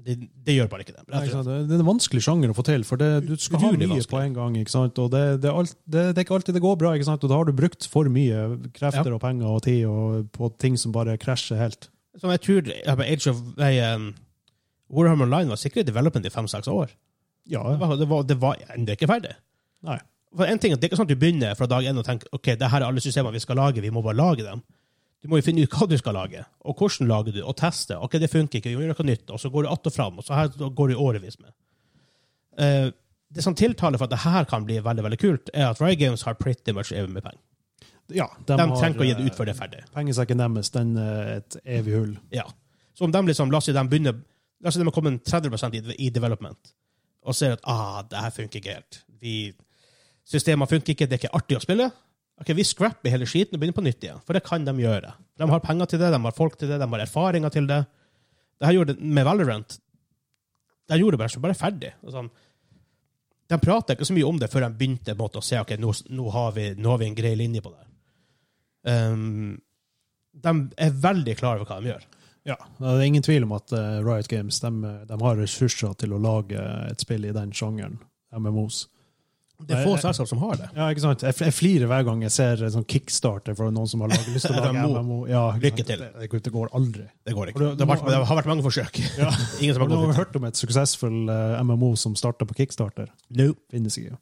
A: Det, det gjør bare ikke det.
B: Nei, ikke sant? Det er en vanskelig sjanger å få til, for det, du skal ha
A: Utrolig
B: mye
A: vanskelig.
B: på en gang. ikke sant? Og det, det, er alt, det, det er ikke alltid det går bra, ikke sant? og da har du brukt for mye krefter og penger og tid og, på ting som bare krasjer helt.
A: Som jeg tror ja, på Age of nei, um, Warhammer Online var sikkert i development i fem-seks år.
B: Ja,
A: Det var, det var, det var ennå ikke ferdig.
B: nei.
A: For en ting, er at Det er ikke sånn at du begynner fra dag én og tenker ok, det her er alle systemene vi skal lage, vi må bare lage dem. Du må jo finne ut hva du skal lage, og hvordan lager du, og teste. Ok, det funker ikke, vi må gjøre noe nytt, og så går du att og fram, og så her går du i årevis med. Eh, det som tiltaler for at det her kan bli veldig veldig kult, er at Riot Games har pretty much evig med penger.
B: Ja,
A: De
B: har,
A: trenger ikke å gi det ut
B: eh,
A: før det er ferdig.
B: Pengesekken deres den er et evig hull.
A: Ja. Så om de liksom, la oss si de begynner La oss si de har kommet 30 i, i development, og ser at ah, det her funker ikke helt. Vi, systemene funker ikke, det er ikke artig å spille. Ok, Vi scrapper hele skiten og begynner på nytt igjen, for det kan de gjøre. De har penger til det, de har folk til det, de har erfaringer til det. Det her gjorde det med Valorant. De gjorde det bare, så bare ferdig. Og sånn. De prata ikke så mye om det før de begynte på en måte, å se ok, nå, nå, har vi, nå har vi en grei Ehm, linje på det. her. Um, de er veldig klare over hva de gjør.
B: Ja, det er ingen tvil om at eh, Riot Games de, de har ressurser til å lage et spill i den sjangeren, MMOs.
A: Det er få selskap som har det.
B: Ja, ikke sant? Jeg, f- jeg flirer hver gang jeg ser en sånn kickstarter fra noen som har laget, lyst til å lage
A: MMO.
B: MMO. Ja, ikke sant?
A: Lykke til.
B: Det, det går aldri.
A: Det går
B: Og
A: ikke.
B: det-
A: Det har vært, det har vært mange forsøk.
B: Ja.
A: Ingen som
B: Har
A: har
B: du
A: gått dit.
B: hørt om et suksessfull eh, MMO som starta på kickstarter?
A: No.
B: Finnes ikke.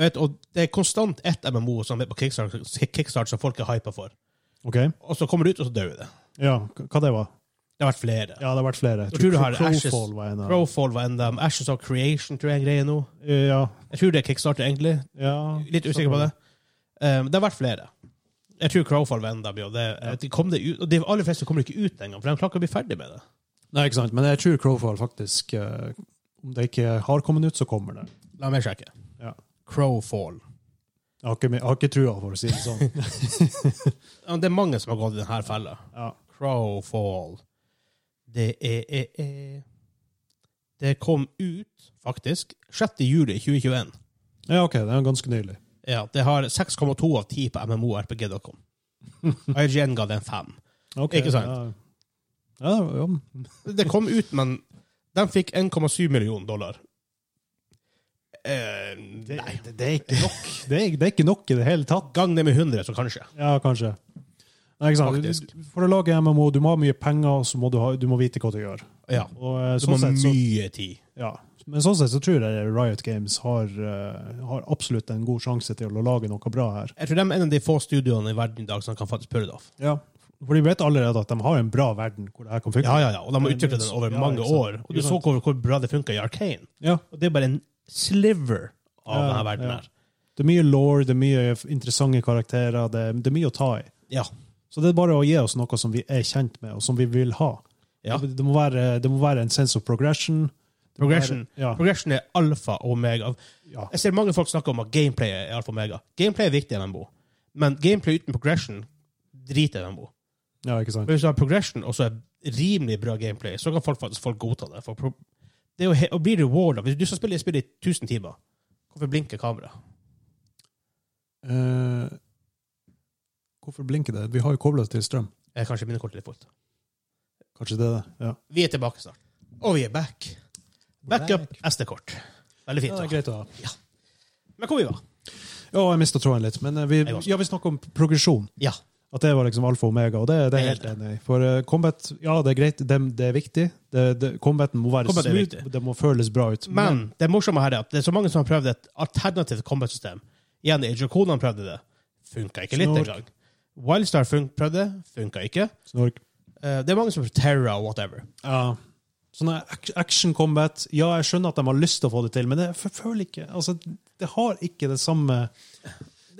A: Vet, og det er konstant ett MMO som er på Kickstart, kickstart som folk er hypa for.
B: Ok?
A: Og så kommer det ut, og så dør det.
B: Ja, hva hva det var?
A: Det har vært flere.
B: Ja, det har vært flere.
A: Jeg tror du har
B: Crowfall
A: Ashes-
B: var en av
A: Crowfall var en av dem. Ashes of Creation tror jeg er en greie nå.
B: Ja.
A: Jeg tror det er Kickstarter, egentlig.
B: ja.
A: Litt usikker på det. Um, det har vært flere. Jeg tror Crowfall var en av dem. og Det,
B: Ja.
A: de kom det ut, og de aller fleste kommer ikke ut engang, for de klarer ikke å bli ferdig med det.
B: Nei, ikke sant. Men jeg tror Crowfall faktisk eh, Om det ikke har kommet ut, så kommer det.
A: La meg sjekke.
B: Ja.
A: Crowfall.
B: Jeg har ikke, jeg har ikke trua, for å si det sånn.
A: Ja, Det er mange som har gått i denne fella.
B: Ja.
A: Crowfall. Det er, er, er Det kom ut, faktisk, 6. juli 2021.
B: ja, OK. Det er ganske nylig.
A: Ja, det har 6,2 av 10 på MMORPG.com. IGN ga det en 5.
B: Ok,
A: Ikke sant?
B: Ja, ja, ja.
A: Det kom ut, men de fikk 1,7 millioner dollar. Eh,
B: Det,
A: nei.
B: det, det er ikke nok. Det er, det er ikke nok i det hele tatt.
A: Gang det med 100, så kanskje.
B: Ja, kanskje. Nei, ikke sant?
A: Faktisk.
B: For å lage MMO, du må ha mye penger, og så må du, ha, du må vite hva du gjør.
A: Ja.
B: Og, eh,
A: Så
B: sånn
A: må
B: sett, så,
A: mye tid.
B: ja. Men sånn sett så tror jeg Riot Games har, eh, har absolutt en god sjanse til å lage noe bra her.
A: Jeg tror de er en av de få studioene i verden i dag som kan faktisk pulle det off.
B: Ja. For de vet allerede at de har en bra verden hvor det her kan funke.
A: Ja, ja, ja. Og de har utviklet den over
B: Ja,
A: mange
B: ikke sant.
A: år. Og du
B: Ikke
A: så
B: sant.
A: hvor, hvor bra det funka i Arcane.
B: Ja.
A: Og det er bare en sliver av
B: Ja,
A: denne verden
B: ja.
A: her.
B: Det er mye law, det er mye interessante karakterer, det, det er mye å ta i.
A: Ja.
B: Så det er bare å gi oss noe som vi er kjent med, og som vi vil ha.
A: Ja.
B: Det, det, må være, det må være en sense of progression. Det må
A: Progression.
B: Være, ja.
A: Progression er alfa og omega.
B: Ja.
A: Jeg ser mange folk snakke om at gameplay er alfa og omega. Gameplay er viktig i MMO, men gameplay uten progression driter i MMO.
B: ja, ikke sant?
A: Men hvis du har progression og så er rimelig bra gameplay, så kan folk faktisk folk godta det. For pro- det er jo he å bli rewarda Hvis du skal spille et spill i 1000 timer, hvorfor blinker kameraet?
B: Eh, hvorfor blinker det? Vi har jo kobla til strøm.
A: Eh, Kanskje minnekortet litt fort.
B: Kanskje det er det? Ja.
A: Vi er tilbake snart. Og vi er back. Backup SD-kort. Veldig fint.
B: Ja, det er
A: da.
B: greit å ha.
A: Men hvor vi var?
B: Ja, jeg mista tråden litt. Men eh, vi,
A: Jeg også.
B: ja, vi snakker om progresjon.
A: Ja.
B: At det var liksom alfa og omega, og det, det er jeg helt enig i. For eh, combat, ja, det er greit, det, det er viktig. Det, det, combaten må være
A: Combat er
B: smooth,
A: viktig.
B: det må føles bra ut.
A: Men det morsomme her er at det er så mange som har prøvd et alternativt combat-system. Igjen, Age of Conan prøvde det. Funka ikke litt
B: Snork.
A: engang. Wildstar fun prøvde det. Funka ikke.
B: Snork.
A: Eh, det er mange som prøver Terra og whatever.
B: Ja. Sånne ac- action combat Ja, jeg skjønner at de har lyst til å få det til, men jeg f- føler ikke altså, Det har ikke det samme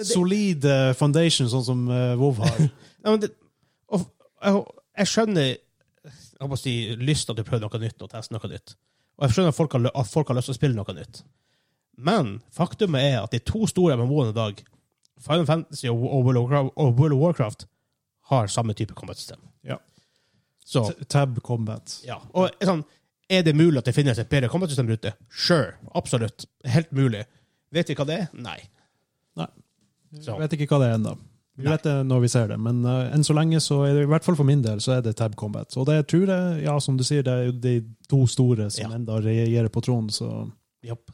B: solide foundation sånn som eh, WoW har.
A: Ja, men det, og, jeg, jeg skjønner jeg må si, lysten til å prøve noe nytt og teste noe nytt. Og jeg skjønner at folk har, lø- at folk har lyst til å spille noe nytt. Men faktumet er at de to store MMO-ene i dag, Final Fantasy og, og, World of, Warcraft- og World of Warcraft, har samme type combat-system.
B: Ja.
A: Så,
B: T- Tab combat.
A: ja. Og er sånn, er det mulig at det finnes et bedre combat-system ute? Sure. Absolutt. Helt mulig. Vet vi hva det er? Nei.
B: Nei.
A: Så.
B: Jeg vet ikke hva det er ennå. Vi
A: Nei.
B: vet det når vi ser det, men eh, enn så lenge, så er det, i hvert fall for min del, så er det tab combat. Og det tror jeg, ja, som du sier, det er jo de to store som
A: Ja.
B: enda regjerer på tronen, så
A: Japp.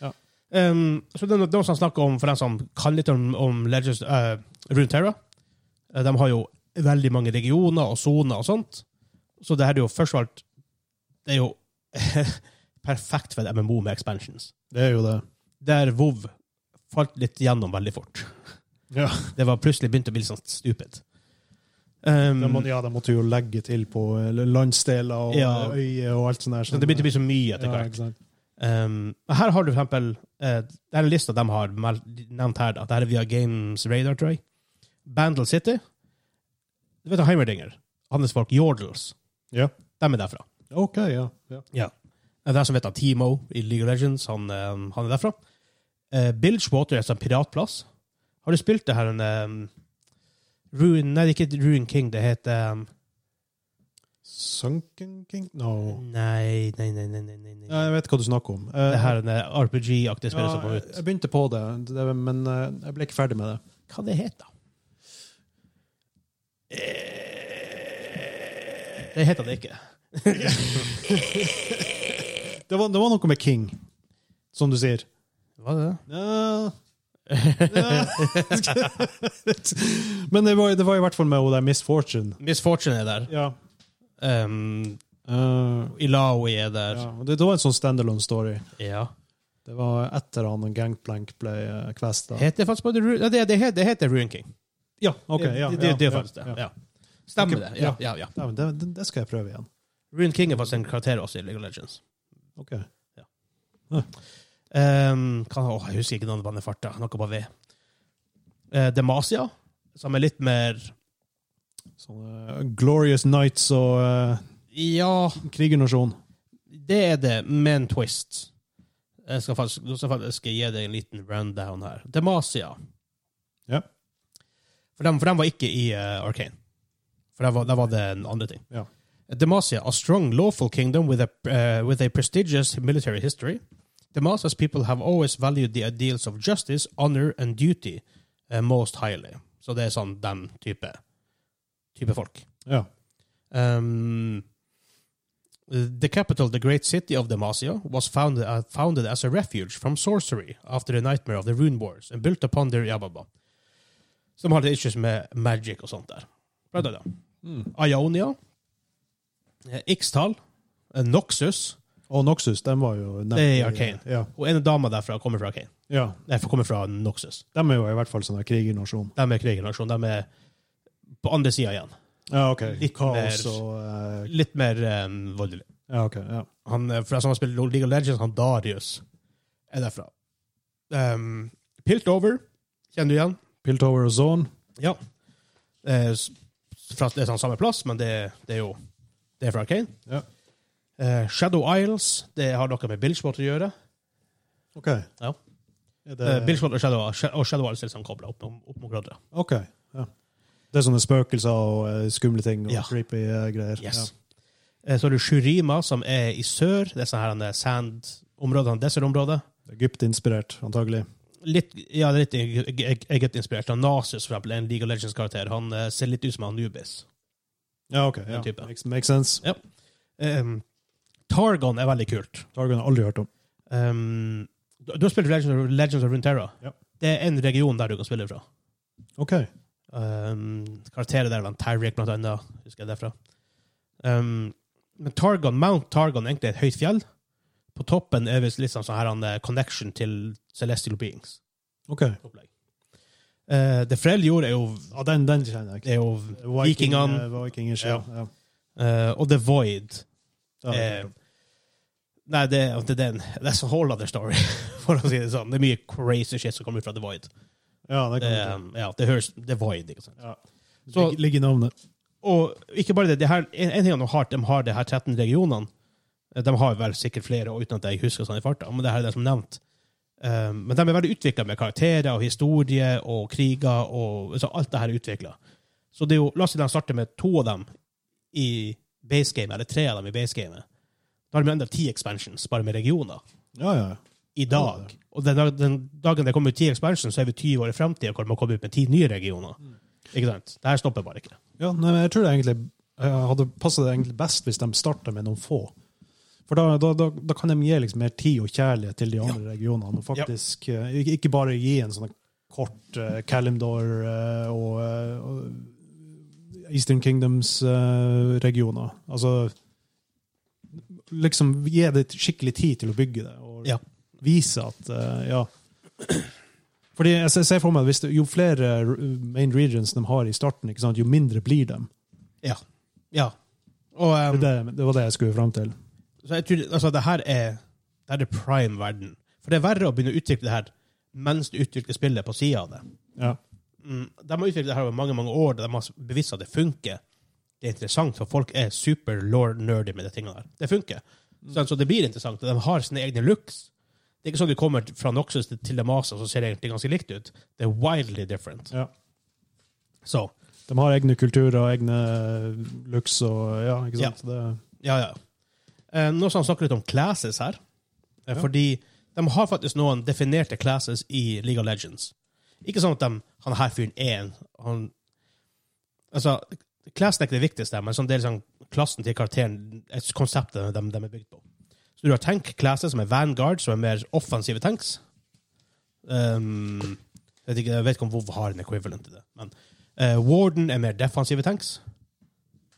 B: Ja.
A: Ehm, så det er no- noen som snakker om, for dem som kan litt om, om Legends uh, Runeterra eh, De har jo veldig mange regioner og soner og sånt. Så det her er jo først og alt Det er jo perfekt for et MMO med expansions.
B: det er jo det.
A: Der WoW falt litt gjennom veldig fort.
B: Ja,
A: Det var plutselig begynt å bli litt sånn stupid. Ehm,
B: de, må, ja, de måtte jo legge til på eh, landsdeler og
A: Ja.
B: øyer og alt sånt der.
A: så det begynte å bli så mye etter
B: Ja,
A: hvert.
B: ikke sant?
A: Um, her har du for eksempel uh, Det er en liste de har mel- nevnt her. At det her er via Games Radar, tror jeg. Bandle City. Du vet Heimerdinger? Hans folk Yordles.
B: Ja.
A: De er derfra.
B: OK, ja. ja.
A: Det er de som vet at Timo i League of Legends, han, um, han er derfra. Uh, Bilgewater er en sånn piratplass. Har du spilt det her en um, Ruin Nei, det er ikke Ruin King, det heter um,
B: Sunken King? No.
A: Nei, nei, nei, nei, nei, nei, nei.
B: Ja, jeg vet hå du snakker om. Eh,
A: Det her er en eh, RPG-aktig spill
B: ja,
A: som kom ut.
B: jeg begynte på det, det- men eh, jeg ble ikke ferdig med det.
A: Hva det heter Det heter det ikke.
B: Det var, det var noe med King, som du sier.
A: Hva er det?
B: Ja. Ja. Men det var, det var i hvert fall med hun der Miss Fortune.
A: Miss Fortune er der.
B: Ja.
A: Um,
B: Eh,
A: Ilaoi er der.
B: ja. og Det, det var en sånn standalone story.
A: Ja.
B: Det var etter han og Gangplank ble uh, kvesta.
A: Heter det faktisk bare Ru- ja, det, det, heter, det heter Ruin King.
B: Ja, ok. Ja,
A: det,
B: ja,
A: det, det er
B: ja,
A: faktisk det.
B: ja.
A: Ja. Stemmer
B: Ok,
A: det. Ja, ja, ja.
B: Ja, men det, det- det skal jeg prøve igjen.
A: Ruin King er faktisk en karakter også i League of Legends.
B: Ok.
A: Um, kan, åh, jeg husker ikke navnet på han i farta. Noe på V. Eh, Demacia, som er litt mer
B: Sånn, eh, Glorious Nights og eh,
A: Ja,
B: Krigernasjon.
A: det er det, med en twist. Jeg skal faktisk, nå skal jeg faktisk gi deg en liten rundown her. Demacia.
B: Ja.
A: For dem, for dem var ikke i uh, Arcane. For der var, der var det en andre ting.
B: Ja.
A: Demacia, a strong lawful kingdom with a, eh, with a prestigious military history. Demacia's people have always valued the ideals of justice, honor and duty eh, most highly. Så det er sånn den type, type folk.
B: Ja.
A: Um, the capital, the great city of Demacia, was founded, uh, founded as a refuge from sorcery after the nightmare of the Rune Wars and built upon their Yababa. Som hadde issues med magic og sånt der. Bra, da, da. Mm. Ionia, eh, Ixtal, eh, Noxus
B: Og Noxus, den var jo nevnt.
A: Det er i
B: i-
A: Arcane.
B: Ja.
A: Og en dame derfra kommer fra Kane.
B: ja.
A: Nei, for- kommer fra Noxus.
B: De er jo i hvert fall sånn der krigernasjon.
A: De er krigernaksjon. De er på andre sida igjen.
B: Ja, ok.
A: Litt
B: Kaos
A: mer-
B: og eh,
A: Litt mer eh, voldelig.
B: Ja, ok. Ja.
A: Han eh, fra som har spilt League of Legends, han Darius, er derfra. Um, Piltover, kjenner du igjen?
B: Piltover og Zone.
A: Ja. Eh, s- fra, det er sånn samme plass, men det, det er jo Det er fra Arcane.
B: Ja.
A: Eh, Shadow Isles, det har noe med Billsport å gjøre.
B: Ok.
A: Ja.
B: Er det,
A: Eh, Billsport og Shadow, og Shadow Isles er liksom kobla opp, opp mot hverandre.
B: ok, ja. Det er sånne spøkelser og eh, skumle ting og
A: Ja.
B: creepy eh, greier.
A: Yes. Eh, så har du Shurima, som er i sør. Det er sånn her eh, sandområdene, desertområdet.
B: Ja. Egypt-inspirert, antagelig.
A: litt, ja, det er litt eg- Egypt-inspirert. Han Nasus, for eksempel, er en League of Legends-karakter. Han eh, ser litt ut som han Nubis.
B: Ja, ok. Ja.
A: Den type.
B: Makes, makes sense.
A: Um, Targon er veldig kult.
B: Targon har jeg aldri hørt om.
A: Um, du, du har spilt Legends of, Legends of Runeterra.
B: Ja.
A: Det er en region der du kan spille fra.
B: Ok.
A: Um, karakterer der, blant Tyrick blant annet, husker jeg derfra. Um, men Targon, Mount Targon er egentlig et høyt fjell. På toppen er visst litt sånn sånn her han eh, connection til Celestial Beings.
B: ok.
A: opplegg. Eh, det Freljord er jo
B: Ja, den, den kjenner jeg ikke.
A: er jo vikingene.
B: eh, Vikingers, ja. ja.
A: eh, og The Void.
B: Det har jeg
A: Eh,
B: hørt om.
A: Nei, det, det, det, er en- that's a whole other story, for å si det sånn. Det er mye crazy shit som kommer ut fra The Void.
B: ja, det
A: Det,
B: kan jeg
A: um, ja, det høres The Void, ikke sant.
B: Ja.
A: Så,
B: Ligger- Ligger i navnet.
A: og ikke bare det, det her, en, en ting de har, de har det her 13 regionene. Eh, De har vel sikkert flere, og uten at jeg husker sånn i farta, men det her er det som nevnt. Um, men de er veldig utvikla med karakterer og historie og kriger, og så alt det her er utvikla. Så det er jo, la oss si de starter med to av dem i base game, eller tre av dem i base gamet. Da har de enda ti expansions, bare med regioner.
B: Ja, ja.
A: i dag. Og den, dag- den dagen det kommer ut ti expansion, så er vi 20 år i fremtiden hvor man kommer ut med ti nye regioner. Ikke sant? Det her stopper bare ikke.
B: Ja, nei, men jeg tror det egentlig eh, hadde passet det egentlig best hvis de startet med noen få. For da, da, da, da kan de gi liksom mer tid og kjærlighet til de andre regionene. og faktisk eh, ikke- Ikke bare gi en sånn kort uh, Calimdor eh, og, eh, og Eastern Kingdoms-regioner. altså liksom gi det skikkelig tid til å bygge det, og
A: Ja.
B: vise at eh, ja. Fordi jeg ser- ser for meg at hvis det, Jo flere eh, main regions de har i starten, ikke sant, jo mindre blir de.
A: Ja. ja. Og um,
B: Det, det var det jeg skulle fram til.
A: så jeg tror, altså, det her er, det her er prime verden. For det er verre å begynne å utvikle det her mens du utvikler spillet på sida av det.
B: Ja.
A: Mm, de har utviklet det her over mange mange år, de har bevisst at det funker. Det er interessant, for folk er super lore-nerdy med de tingene der. Det funker. Så, så det blir interessant. og De har sine egne looks. Det er ikke sånn du kommer fra Noxus til- til Damasa, så ser det egentlig ganske likt ut. Det er wildly different.
B: Ja.
A: Så,
B: De har egne kulturer og egne eh, looks og ja, ikke sant? Det,
A: ja, ja. Eh, nå skal han snakke litt om classes her. Eh,
B: Ja.
A: Fordi de har faktisk noen definerte classes i League of Legends. Ikke sånn at de, han her fyren er en han, Altså, Classneck er det viktigste, men sånn, det er liksom klassen til karakteren, et konseptet de, de er bygd på. Så du har tank classer som er vanguard, som er mer offensive tanks. Um, jeg, vet ikke, jeg vet ikke om WoW har en equivalent til det. Men eh, Warden er mer defensive tanks.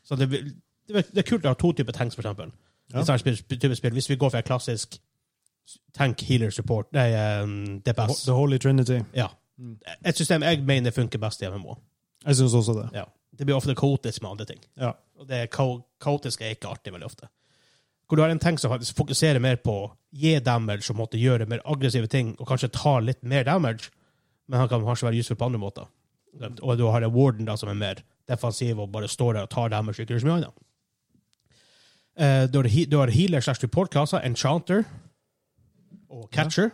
A: Så det, vil- det, vil- det er kult å ha to typer tanks, for eksempel.
B: Ja.
A: I sånne spill- sp- type spill. Hvis vi går for en klassisk tank, healer, support, nei, um, DPS.
B: The Holy Trinity.
A: Ja.
B: Mm.
A: Et system jeg mener funker best i MMO.
B: Jeg syns også det.
A: Ja. Det blir ofte kaotisk med andre ting.
B: Ja.
A: Og det kao- kaotiske er ikke artig veldig ofte. Hvor du har en tank som faktisk fokuserer mer på å gi damage og måtte gjøre mer aggressive ting, og kanskje ta litt mer damage, men han kan kanskje være useful på andre måter. Og du har en warden da, som er mer defensiv og bare står der og tar damage og ikke gjør så mye annet. Eh, Du har, he- du har healer slash support-klasser, enchanter og catcher,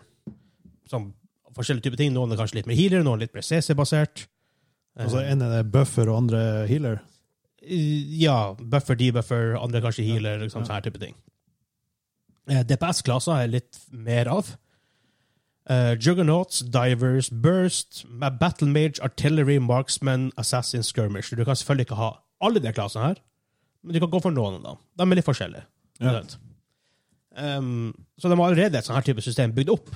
A: som forskjellige typer ting. Noen er kanskje litt mer healer, noen er litt mer Eh, CC-basert.
B: Altså, en er det buffer, og andre er healer.
A: Eh, Ja, buffer, debuffer, andre kanskje healer, liksom,
B: Ja.
A: sånne her type ting. Eh, DPS-klasser er litt mer av. Eh, juggernauts, divers, burst, ma- battle mage, artillery, marksman, assassin, skirmish. Du kan selvfølgelig ikke ha alle de klassene her, men du kan gå for noen av dem. De er litt forskjellige.
B: Ja.
A: ikke sant? Ehm, så de har allerede et sånt her type system bygd opp.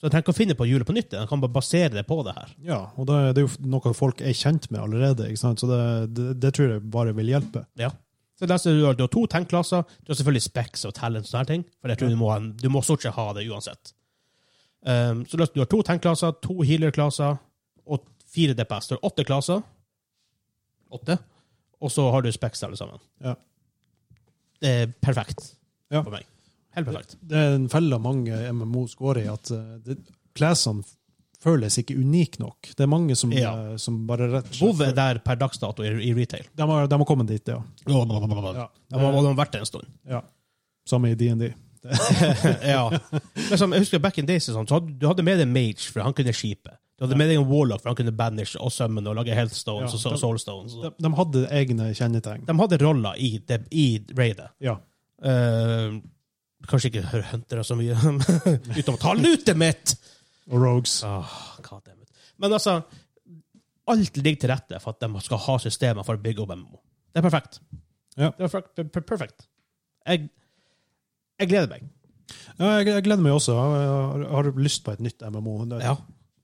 A: Så jeg tenker å finne på hjulet på nytt. Jeg kan bare basere det på det her.
B: Ja, og det, det er jo noe folk er kjent med allerede, ikke sant? så det, det, det tror jeg bare vil hjelpe.
A: Ja. Så der ser du, at du har to tankklasser. Du har selvfølgelig specs og talent og sånne her ting. For jeg tror du, må, ha en- du må stort sett ha det uansett. Um, så du har to tankklasser, to healer-klasser og fire DPS. Du har åtte klasser. Åtte. Og så har du specs alle sammen.
B: Ja.
A: Det er perfekt
B: Ja.
A: for meg. Helt perfekt.
B: Det er en felle mange MMO går i, at eh, det- classene føles ikke unike nok. Det er mange som,
A: Ja.
B: eh, som bare rett og slett
A: WoW er der per dags dato i, i retail.
B: de har, de har kommet dit, ja. Eh,
A: Ja. De har de har vært der en stund.
B: ja. Samme i DND.
A: ja. Men som, jeg husker back in days, og sånt, så hadde, du hadde med deg Mage, for han kunne skipet. Du hadde med deg en Warlock, for han kunne banish og summon og lage Healthstones
B: Ja,
A: og so-
B: de-
A: Soulstones.
B: De, de hadde egne kjennetegn.
A: De hadde roller i, det- i raidet.
B: Ja.
A: Eh, kanskje ikke hør- huntere så mye, utenom ta lutet mitt!
B: Og Rogues.
A: Ah, goddammit. Men altså, alt ligger til rette for at de skal ha systemer for å bygge opp MMO. Det er perfekt.
B: Ja.
A: Det er perfekt. per- per- perfekt. Jeg, jeg gleder meg.
B: Ja, jeg, jeg gleder meg også. Jeg har, jeg har lyst på et nytt MMO. Det-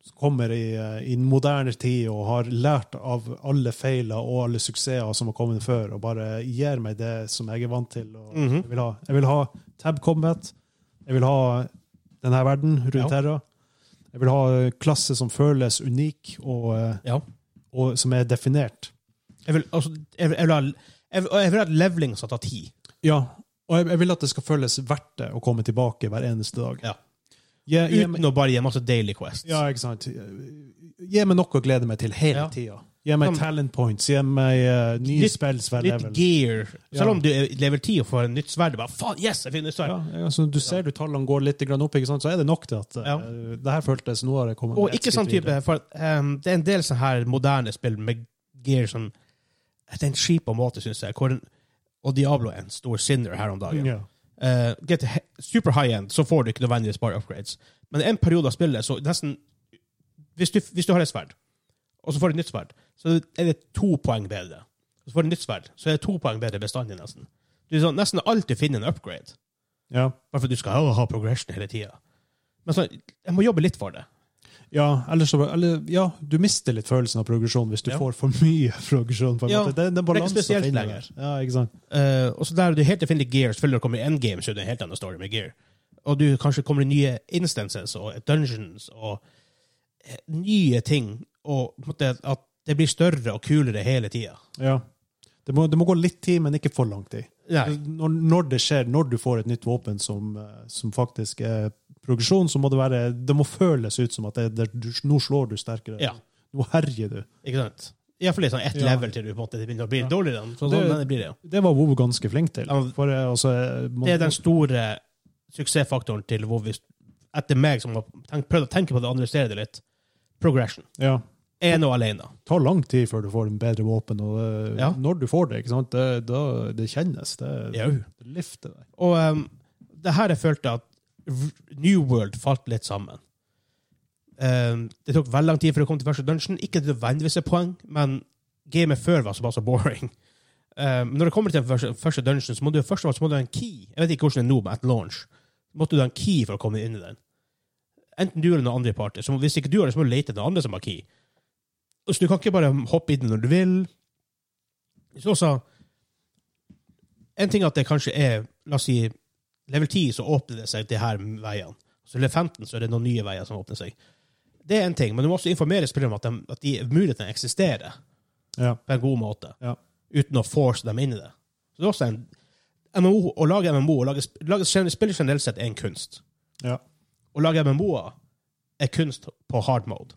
B: som kommer i, eh, i en moderne tid og har lært av alle feiler og alle suksesser som har kommet før, og bare gir meg det som jeg er vant til. Og
A: Mhm.
B: jeg, vil ha, jeg vil ha Tab Combat. Jeg vil ha denne verden rundt
A: Ja.
B: Terra. Jeg vil ha eh, klasse som føles unik, og, eh,
A: Ja.
B: og som er definert.
A: Jeg vil, altså, jeg, vil- jeg vil ha jeg, vil- og jeg vil ha leveling som tar tid.
B: Ja, og jeg, jeg vil at det skal føles verdt det å komme tilbake hver eneste dag.
A: Ja.
B: Gi- gi meg-
A: Uten å bare gi masse daily quests.
B: Ja, ikke sant. Gi meg noe å glede meg til hele
A: Ja.
B: tida. Gi meg
A: Som-
B: talent points, gi meg eh, nye
A: Litt-
B: spells hver
A: Litt
B: level.
A: gear. Selv
B: Ja.
A: om du er level 10 og får en nytt sverd, du bare faen, yes, jeg fikk nytt sverd.
B: Ja, altså, du ser du tallene går litt grann opp, ikke sant? så er det nok til at eh,
A: Ja.
B: det her føltes Nå har jeg kommet
A: Og
B: ett
A: ikke
B: skritt
A: sånn type,
B: videre.
A: for ehm, det er en del sånne her moderne spill med gear som Det er en skip på en måte, syns jeg. Hvor, en- og Diablo er en stor sinner her om dagen.
B: Ja.
A: Eh, get he- super high end, så får du ikke nødvendigvis bare upgrades. Men en periode av spillet, så nesten Hvis du, hvis du har et sverd, og så får du et nytt sverd, så er det to poeng bedre. Og så får du et nytt sverd, så er det to poeng bedre bestandig, nesten. Du er sånn, nesten alltid finner en upgrade,
B: Ja.
A: bare for at du skal ha progression hele tida. Men sånn, jeg må jobbe litt for det.
B: Ja, eller så, eller, ja, du mister litt følelsen av progresjon hvis du
A: Ja.
B: får for mye progresjon. På en
A: Ja,
B: måte. Det, det er
A: det er ikke
B: balansen å
A: spesielt
B: finne
A: lenger.
B: der. Ja, ikke sant?
A: Eh, og så der du helt definitivt gear, selvfølgelig når du kommer i endgame, så er det en helt annen story med gear. Og du kanskje kommer i nye instances og dungeons og eh, nye ting, og på en måte at det blir større og kulere hele tida.
B: Ja. Det, må, det må gå litt tid, men ikke for lang tid.
A: Nei.
B: Når, når det skjer, når du får et nytt våpen som, eh, som faktisk er progresjon, så må det være Det må føles ut som at det, det, du, nå slår du sterkere.
A: Ja.
B: Nå herjer du.
A: Ikke sant? Iallfall sånn ett
B: Ja.
A: level til du på en måte begynner å bli
B: Ja.
A: dårligere. Så,
B: Det-
A: sånn, men det blir det jo.
B: Det var WoW ganske flink til.
A: Ja, men-
B: For, eh, altså, eh, man,
A: Det er den store suksessfaktoren til hvor vi Etter meg, som har tenkt, prøvd å tenke på det og analysere det litt, progression.
B: ja,
A: Ene og alene.
B: tar lang tid før du får en bedre våpen. Og eh,
A: Ja.
B: når du får det, ikke sant? Det, da, det kjennes. Det,
A: Jau.
B: det lifter deg.
A: Og ehm, det her jeg følte at v- New World falt litt sammen. Ehm, det tok veldig lang tid før det kom til første dungeon. Ikke nødvendigvis et poeng, men gamet før var såpass boring Eh, men når det kommer til den første, første dungeon, så må du først og fremst så må du ha en key. Jeg vet ikke hvordan det er nå, men at launch måtte du ha en key for å komme inn i den. Enten du eller noen andre i party. Så hvis ikke du har det, så må du lete etter noen andre som har key. Så du kan ikke bare hoppe inn når du vil. Så også, en ting er at det kanskje er, la oss si, level 10, så åpner det seg de her veiene. Så level 15, så er det noen nye veier som åpner seg. Det er en ting, men du må også informere spillerne om at, de, at de mulighetene eksisterer
B: Ja.
A: på en god måte,
B: Ja.
A: uten å force dem inn i det. Så det er også en MMO, Å lage MMO og lage, sp- lage gen- spill generelt sett er en kunst.
B: Ja.
A: Å lage MMO-er er kunst på hard mode.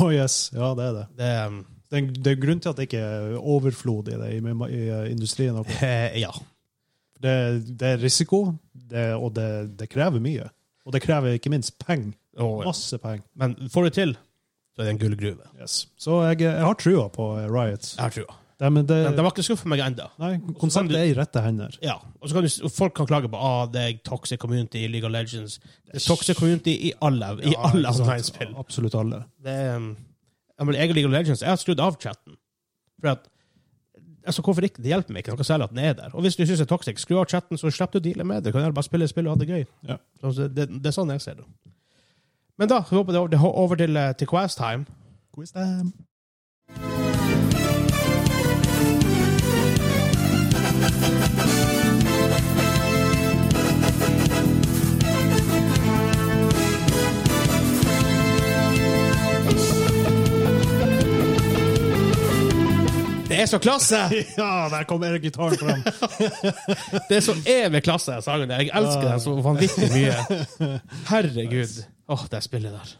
B: Oh yes, ja, det er det.
A: Det um, er,
B: Det er, det er grunn til at det ikke er overflod i det i, i, i industrien. og-
A: eh, ja.
B: Det, det er risiko, det, og det, det krever mye. Og det krever ikke minst penger.
A: Og,
B: Masse penger.
A: men får du til, så er det en gullgruve.
B: Yes. Så jeg, jeg har trua på Riot.
A: Jeg har trua.
B: Det, men det,
A: Men de har ikke skuffet meg ennå.
B: nei, konseptet er i rette hender.
A: Ja. Og så kan du, s- og folk kan klage på ah, det er toxic community i League of Legends. Det er toxic community i alle, i
B: Ja,
A: alle
B: ikke sant?
A: online-spill.
B: Absolutt alle.
A: Det er um, jeg mener, jeg og League of Legends, jeg har skrudd av chatten. For at altså Hvorfor ikke? Det hjelper meg ikke noe særlig at den er der. Og hvis du syns det er toxic, skru av chatten, så slipper du å deale med det. Du kan heller bare spille spillet og ha det gøy.
B: Ja.
A: Så det, det, det er sånn jeg ser det. Men da, vi hopper det over- det er over til, eh, til Quest Time.
B: Quiz time.
A: Det er så klasse!
B: Ja, der kom Erik gitaren fram.
A: Det er så evig klasse, den sangen. der. Jeg elsker den så vanvittig mye. Herregud. Åh, det spillet der.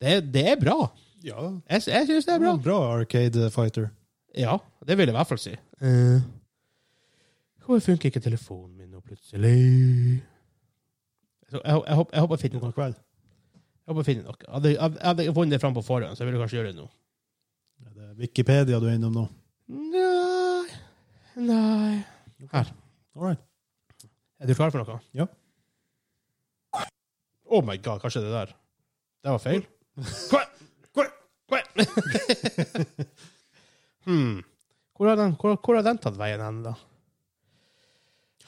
A: Det, er- det er bra.
B: ja,
A: Jeg, jeg syns det er bra.
B: bra Arcade Fighter.
A: Ja, det vil jeg i hvert fall si. Eh. Hvorfor funker ikke telefonen min nå plutselig? Så jeg, jeg, håper, jeg håper jeg finner noe.
B: God kveld.
A: Jeg håper jeg finner noe. Hadde jeg hadde jeg funnet det fram på forhånd, så jeg ville kanskje gjøre det nå.
B: Er det Wikipedia du er innom nå?
A: Nei Nei Her.
B: All right.
A: Er du klar for noe?
B: Ja.
A: Oh my god, kanskje det der Det var feil? Hva? Hva? Hva? hmm. Hvor har den, hvor, hvor har den tatt veien hen, da?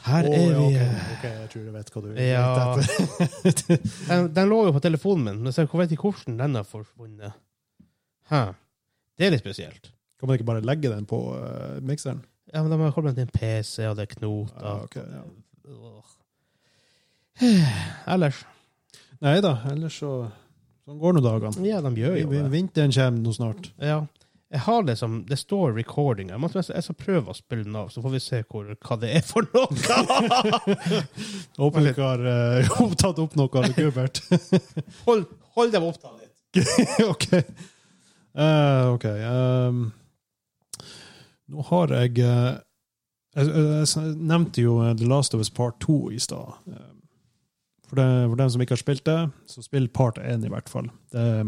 A: Her
B: Å,
A: er
B: ja,
A: vi
B: ok,
A: eh,
B: ok, jeg tror jeg vet hva du
A: Ja.
B: vet etter.
A: Den, den lå jo på telefonen min, men så jeg vet ikke hvordan den har forsvunnet. Hæ. Det er litt spesielt.
B: Kan man ikke bare legge den på eh, mikseren?
A: Ja, men Da må jeg komme til en PC, og det er knoter.
B: Ja, ok, ja.
A: Åh. Ellers
B: Nei da, ellers så Sånn går nå dagene.
A: Ja, de gjør jo det.
B: Vinteren kommer nå snart.
A: Ja. Jeg har liksom, Det står recording. Jeg, må, jeg skal prøve å spille den av, så får vi se hvor, hva det er for noe.
B: Håper du ikke har eh, tatt opp noe av Gubert.
A: hold, hold dem opptatt litt.
B: OK. Eh, ok. ehm, nå har jeg eh, jeg, jeg, jeg nevnte jo eh, The Last of Us Part 2 i stad. Ehm, For, det- for dem som ikke har spilt det, så spill Part 1 i hvert fall. Det er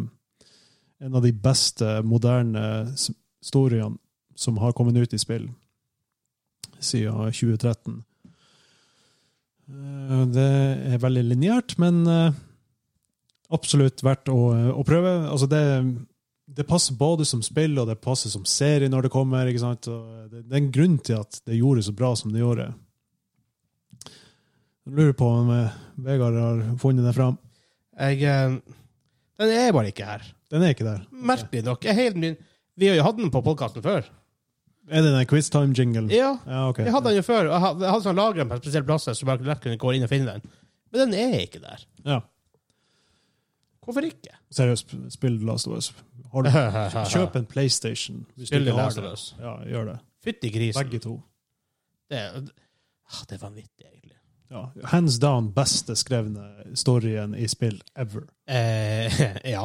B: en av de beste moderne s- historiene som har kommet ut i spill siden 2013. Eh, Det er veldig lineært, men eh, absolutt verdt å, å prøve. Altså det, det passer både som spill og det passer som serie når det kommer. Ikke sant? Og det, det er en grunn til at det gjorde så bra som det gjorde. Jeg lurer på om eh, Vegard har funnet det fram.
A: Jeg, eh, den er bare ikke her.
B: Den er ikke der.
A: Merkelig nok. Jeg, helt min, vi har jo hatt den på podkasten før.
B: Er det den quiztime-jinglen?
A: Ja,
B: Ja, ok.
A: Jeg hadde den jo før. og Jeg hadde, jeg hadde sånn lagra den på en spesiell plass, så jeg bare lett kunne gå inn og finne den. Men den er ikke der.
B: Ja.
A: Hvorfor ikke?
B: Seriøst, spill The Last of Us. Har du, kjøp en PlayStation. Hvis
A: Spill
B: du
A: The
B: ikke har
A: Last of
B: det.
A: Us.
B: Ja, gjør det.
A: Fytti grisen.
B: Begge to.
A: Det, er- ah, det er vanvittig, egentlig.
B: Ja. Hands down beste skrevne storyen i spill ever.
A: Eh, ja.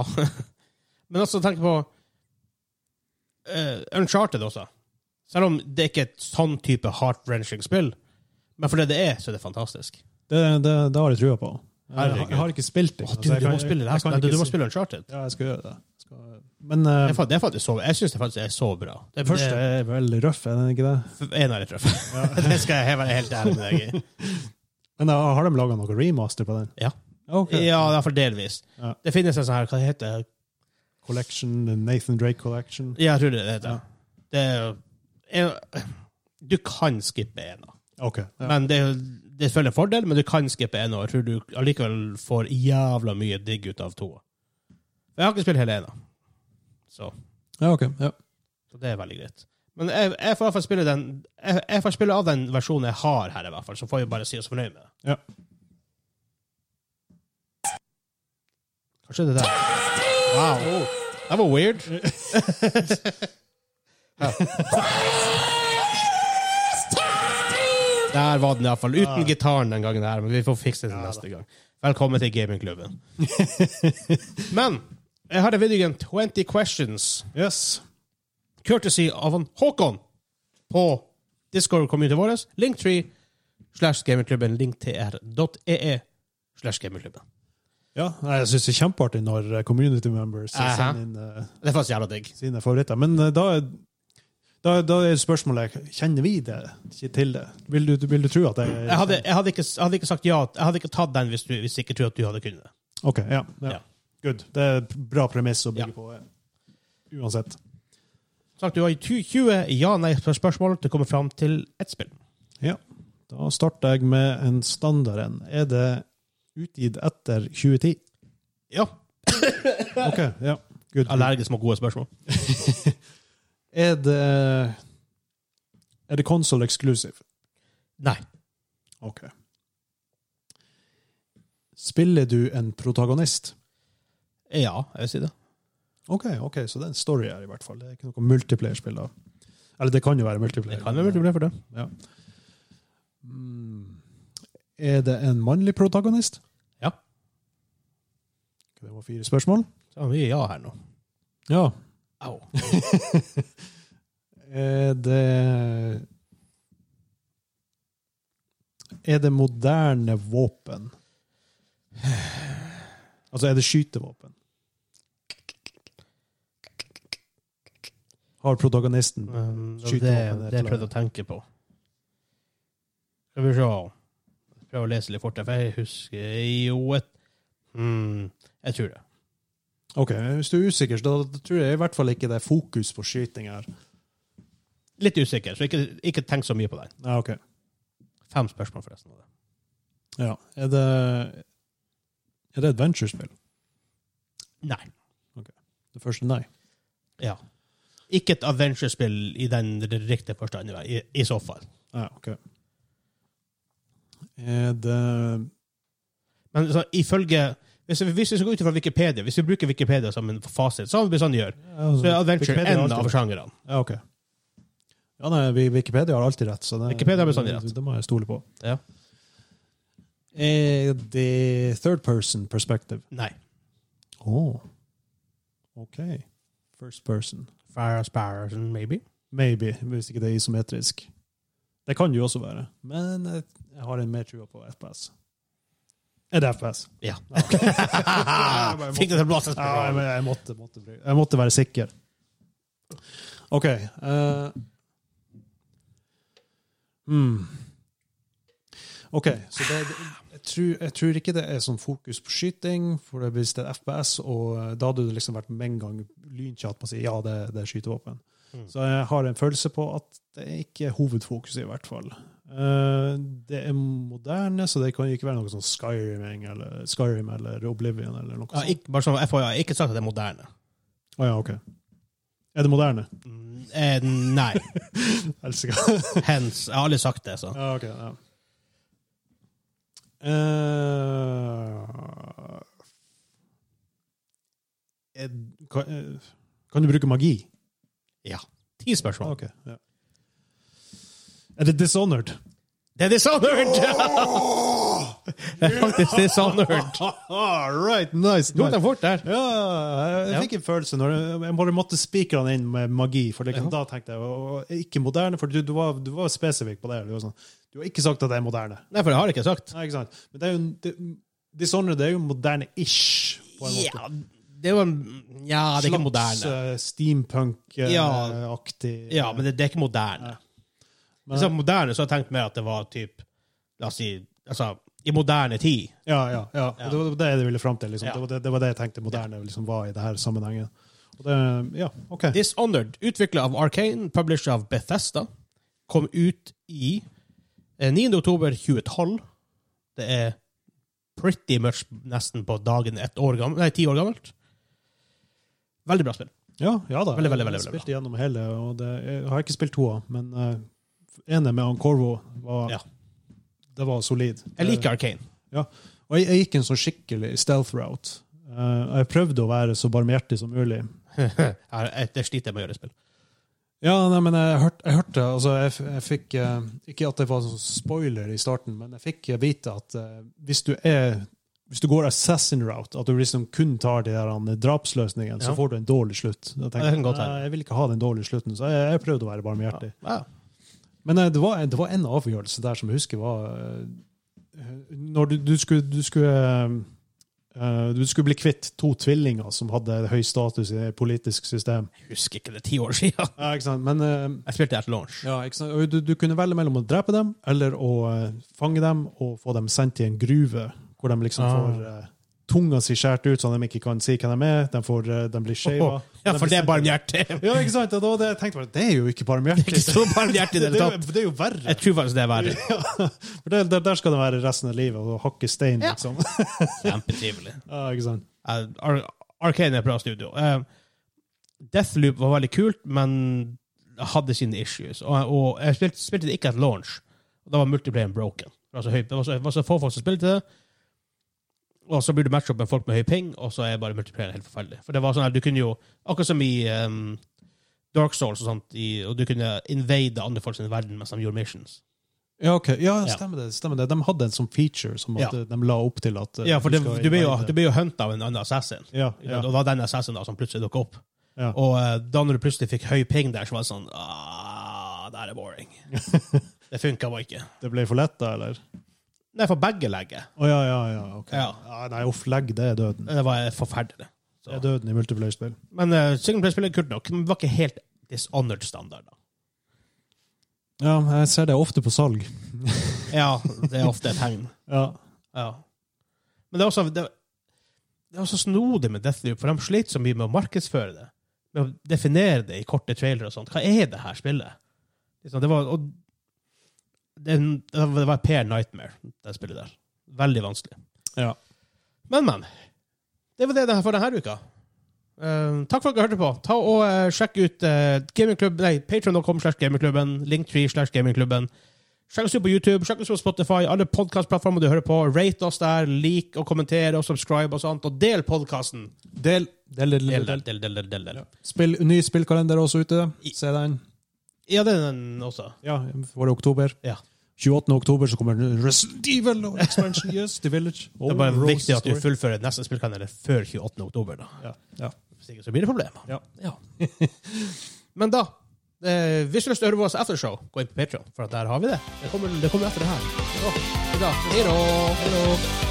A: Men også tenk på eh, Uncharted også. Selv om det ikke er et sånn type heart-wrenching spill. Men for det det er, så er det fantastisk.
B: Det, det, det har jeg trua på. Jeg,
A: Herregud.
B: jeg har ikke spilt det.
A: Åh,
B: altså,
A: du,
B: jeg
A: du
B: kan-
A: må spille det
B: jeg kan
A: her. Du,
B: ikke
A: du må
B: si-
A: spille Uncharted.
B: Ja, jeg skal gjøre det. Jeg Skal, men eh,
A: Det er fa- det er faktisk så, jeg syns det faktisk er så bra. Det
B: den første er veldig røff, er den ikke det?
A: En av de treffer. det skal jeg være helt ærlig med deg i.
B: Men eh, har de laga noe remaster på den?
A: Ja.
B: Ok.
A: Ja, i hvert fall delvis.
B: Ja.
A: Det finnes en sånn her, hva det heter
B: Collection, the Nathan Drake Collection.
A: Ja, jeg tror det det heter. Det er jo en- Du kan skippe ena.
B: OK. Ja.
A: Men det, er jo- det følger en fordel, men du kan skippe ena. og Jeg tror du allikevel får jævla mye digg ut av toa. Jeg har ikke spilt hele ena, så,
B: ja, ok. Ja.
A: så det er veldig greit. Men jeg, jeg får i hvert fall spille den jeg, jeg får spille av den versjonen jeg har her, i hvert fall, så får vi bare si oss fornøyd med det.
B: Ja.
A: Kanskje det der. Wow. Det var weird. Der var den iallfall. Uten gitaren den gangen, her, men vi får fikse det til neste gang. Velkommen til gamingklubben. men jeg har en videogame 20 questions
B: Yes.
A: courtesy av han Håkon på Discord-communityen vår. Linktree slash gamingklubben. Linktr.ee slash gamingklubben.
B: Ja, nei, jeg syns det er kjempeartig når eh, community members
A: Aha.
B: sender inn eh,
A: Det er faktisk jævla digg.
B: sine favoritter. Men eh, da, er- da, da er spørsmålet kjenner vi det ikke til det. Vil du, vil du tro at det er
A: Jeg hadde, jeg, hadde ikke, jeg hadde ikke sagt ja Jeg hadde ikke tatt den hvis du hvis jeg ikke trodde at du hadde kunnet det.
B: OK. Ja. ja.
A: Ja.
B: Good. Det er et bra premiss å bygge
A: Ja.
B: på. eh, Uansett.
A: Sagt, du har 20 ja-nei-spørsmål til å komme fram til ett spill.
B: Ja. Da starter jeg med en standard en. Er det utgitt etter 2010?
A: Ja.
B: OK. Ja. Good.
A: Allergisk mot gode spørsmål.
B: Er det Er det console exclusive?
A: Nei.
B: OK. Spiller du en protagonist?
A: Ja, jeg vil si det.
B: OK, ok, så det er en story her, i hvert fall. Det er ikke noe multiplayer-spill. da. Eller det kan jo være multiplayer.
A: Det kan være mulig for det.
B: Mm. Er det en mannlig protagonist?
A: Ja.
B: Ok, Det var fire spørsmål.
A: Så har vi ja her nå.
B: Ja.
A: Au.
B: Er det Er det moderne våpen? Altså, er det skytevåpen? Har protagonisten
A: Um, det,
B: Skyter våpen
A: det
B: et
A: jeg
B: eller
A: prøvde
B: annet.
A: å tenke på. Skal vi se Prøve å lese litt fortere, for jeg husker jo et mm, Jeg tror det.
B: Ok, Hvis du er usikker, så da tror jeg i hvert fall ikke det er fokus på skyting her.
A: Litt usikker, så ikke, ikke tenk så mye på den.
B: Ja, ok.
A: Fem spørsmål, forresten. av det.
B: Ja. Er det Er det adventure-spill?
A: Nei.
B: Det første, nei.
A: Ja. Ikke et adventure-spill i den riktige forstand, i, i så fall.
B: Ja, ok. Er det
A: Men så, ifølge hvis vi, hvis vi skal gå ut fra Wikipedia, hvis vi bruker Wikipedia som en fasit, som vi sånn gjør, så er adventure
B: altså, Wikipedia har
A: en av
B: alltid-
A: sjangrene.
B: Ja, ok. Ja, nei, vi- Wikipedia har alltid rett, så det,
A: Wikipedia har bestandig rett.
B: det må jeg stole på.
A: Ja.
B: Er det third person perspective?
A: Nei.
B: Å. OK. First person.
A: Fair Sparrow, maybe?
B: Maybe, hvis ikke det er isometrisk. Det kan det jo også være, men jeg, jeg har en mer trua på FPS. Er det FPS?
A: Ja. Fikk det til å blåse
B: Ja, jeg, men jeg, måtte, måtte, bry- jeg måtte være sikker. OK. eh, hmm. OK, så det, det- jeg, tror, jeg tror ikke det er sånn fokus på skyting. For det- hvis det er FPS, og eh, da hadde det liksom vært med en gang lynkjatt på å si ja, det, det er skytevåpen.
A: Mm.
B: Så jeg har en følelse på at det er ikke er hovedfokuset, i hvert fall. Eh, det er moderne, så det kan jo ikke være noe sånn Skyrim eller, Skyrim eller Oblivion eller noe
A: Ja,
B: sånt.
A: ikke, bare sånn, jeg får jeg har ikke sagt at det er moderne.
B: Å ja, ok. Er det moderne?
A: Mm, Eh, nei.
B: Elsker
A: Hens. Jeg har aldri sagt det. Så.
B: Ja, ok. Ja. Eh, er, kan, eh, kan du bruke magi?
A: Ti spørsmål.
B: Ok. Ja. Er det Dishonored?
A: Det er dishonored! det er faktisk dishonored.
B: All right, nice.
A: Du tok
B: nice.
A: den fort der.
B: Ja, jeg jeg fikk en følelse når jeg, jeg bare måtte spikre han inn med magi. For det,
A: Ja.
B: Da tenkte jeg å, å, ikke moderne, for du, du, var, du var spesifikk på det. Du, var sånn, du har ikke sagt at det er moderne.
A: Nei, for det har jeg ikke sagt.
B: Nei, ikke sant? Men det er jo, det, Dishonored er jo moderne-ish. på en måte.
A: Ja, det var Ja, det er ikke moderne.
B: eh, steampunk-aktig.
A: Ja. Ja, men det, det er ikke moderne. Hvis det er moderne, så har jeg tenkt mer at det var typ La oss si altså, i moderne tid.
B: Ja, ja, ja.
A: Ja.
B: Og Det var det jeg ville fram til. Liksom.
A: Ja.
B: Det, var det, det var det jeg tenkte moderne liksom, var i det her sammenhengen. Og det, ja, OK.
A: Dishonored, utvikla av Arcane, publisher av Bethesda. kom ut i eh, 9. oktober 2012. Det er pretty much nesten på dagen ett år gammelt, nei, ti år gammelt. Veldig bra spill.
B: Ja, ja da.
A: Veldig, veldig, veldig,
B: Jeg
A: veldig
B: spilte gjennom hele, og det, jeg har ikke spilt toa, men uh, ene med han Corvo var,
A: Ja.
B: det var solid.
A: Jeg liker Arcane.
B: Og jeg, jeg gikk en sånn skikkelig stealth route. Eh, jeg prøvde å være så barmhjertig som mulig.
A: Jeg- Det sliter jeg med å gjøre i spill.
B: Ja, nei, men jeg hørte, jeg hørte altså jeg, f- jeg fikk, eh, Ikke at det var sånn spoiler i starten, men jeg fikk vite at eh, hvis du er hvis du går assassin route, at du liksom kun tar de der eh, drapsløsningene,
A: Ja.
B: så får du en dårlig slutt.
A: Ja,
B: Da
A: det
B: tenkte
A: kan
B: Jeg,
A: godt hende.
B: «Nei, jeg vil ikke ha den dårlige slutten, så jeg, jeg prøvde å være
A: Ja.
B: barmhjertig.
A: Ja.
B: Men eh, det var, det var en avgjørelse der som jeg husker var eh, Når du, du skulle, du skulle eh, eh, du skulle bli kvitt to tvillinger som hadde høy status i det politiske system.
A: Jeg husker ikke det ti år siden.
B: Ja, ikke sant? Men eh,
A: Jeg spilte etter launch.
B: ja, ikke sant? Og Du, du kunne velge mellom å drepe dem eller å eh, fange dem og få dem sendt i en gruve, hvor de liksom
A: Ah.
B: får eh, tunga si skåret ut, så de ikke kan si hvem de er. De, får, eh, de blir skeiva.
A: Ja, for det er barmhjertig.
B: Ja, ikke sant? Og da var det, jeg tenkte bare, det er jo ikke barmhjertig.
A: Ikke så barmhjertig i det
B: Det
A: hele
B: er
A: tatt.
B: jo, det er jo verre.
A: Jeg tror faktisk det er verre.
B: For der, der, der skal det være resten av livet, og hakke stein,
A: Ja.
B: liksom.
A: Kjempetrivelig.
B: Ja, ikke sant?
A: Eh, Ar- Arcane er et bra studio. Eh, Deathloop var veldig kult, men hadde sine issues. Og, og jeg spilte, spilte det ikke et launch. Og da var multiplayeren broken. Det var så, høyt. Det var så, det var så få folk som spilte det. Og så blir du matcha opp med folk med høy ping, og så er bare multiplayeren helt forferdelig. For det var sånn at du kunne jo, akkurat som i ehm, Dark Souls og sånt, i, og du kunne invade andre folk sin verden mens de gjorde missions.
B: Ja, ok. Ja,
A: Ja.
B: stemmer det. stemmer det. De hadde en sånn feature som at
A: Ja.
B: eh, de la opp til at eh,
A: Ja, for det,
B: skal
A: du blir jo,
B: invite-
A: du blir jo hunta av en annen assassin.
B: ja,
A: Ikke
B: ja.
A: sant? Og det var den assassinen da som plutselig dukka opp.
B: Ja.
A: Og eh, da når du plutselig fikk høy ping der, så var det sånn ah, Det her er boring. det funka bare ikke.
B: Det ble for lett, da, eller?
A: Nei, for begge legger.
B: Å ja, ja, ja. ok.
A: Ja.
B: nei, uff, legg, det er døden.
A: Det var forferdelig.
B: Det er døden i multiplayer-spill.
A: Men uh, singleplay-spillet er kult nok. Men det var ikke helt dishonored standard. da.
B: Ja, jeg ser det ofte på salg.
A: Ja, det er ofte et tegn.
B: Ja.
A: Ja. Men det er også det, det er også snodig med Deathloop, for de sliter så mye med å markedsføre det. Med å definere det i korte trailere og sånt. Hva er det her spillet? Liksom, det var og, det, er en- det var- det var Per Nightmare, det spillet der. Veldig vanskelig.
B: Ja.
A: Men, men. Det var det der for denne uka. Eh, takk for at dere hørte på. Ta og eh, Sjekk ut uh, gamingklubben Nei, patreon.com slash gamingklubben. Linktree slash gamingklubben. Sjekk oss ut på YouTube, sjekk oss ut på Spotify, alle podcastplattformer du hører på. Rate oss der, lik og kommenter og subscribe og sånt. Og del podkasten.
B: Del, del, del,
A: Del,
B: del,
A: del,
B: del.
A: del, del, del, del.
B: Ja. Spill, ny spillkalender også ute.
A: I-
B: Se den.
A: Ja, det er den også.
B: Ja, var det oktober?
A: Ja.
B: 28. oktober så kommer Resident Evil og Expansion Yes, The Village.
A: Det er bare
B: Rose
A: viktig at du
B: Story.
A: fullfører neste spillkanal før 28. oktober. da.
B: Ja, ja.
A: Hvis ikke så blir det problemer.
B: Ja.
A: Men da eh, Hvis du har lyst til å høre vårt aftershow, gå inn på Patreon, for at der har vi det. Det kommer, det kommer etter det her. Så, i dag. Hei da. Hei da.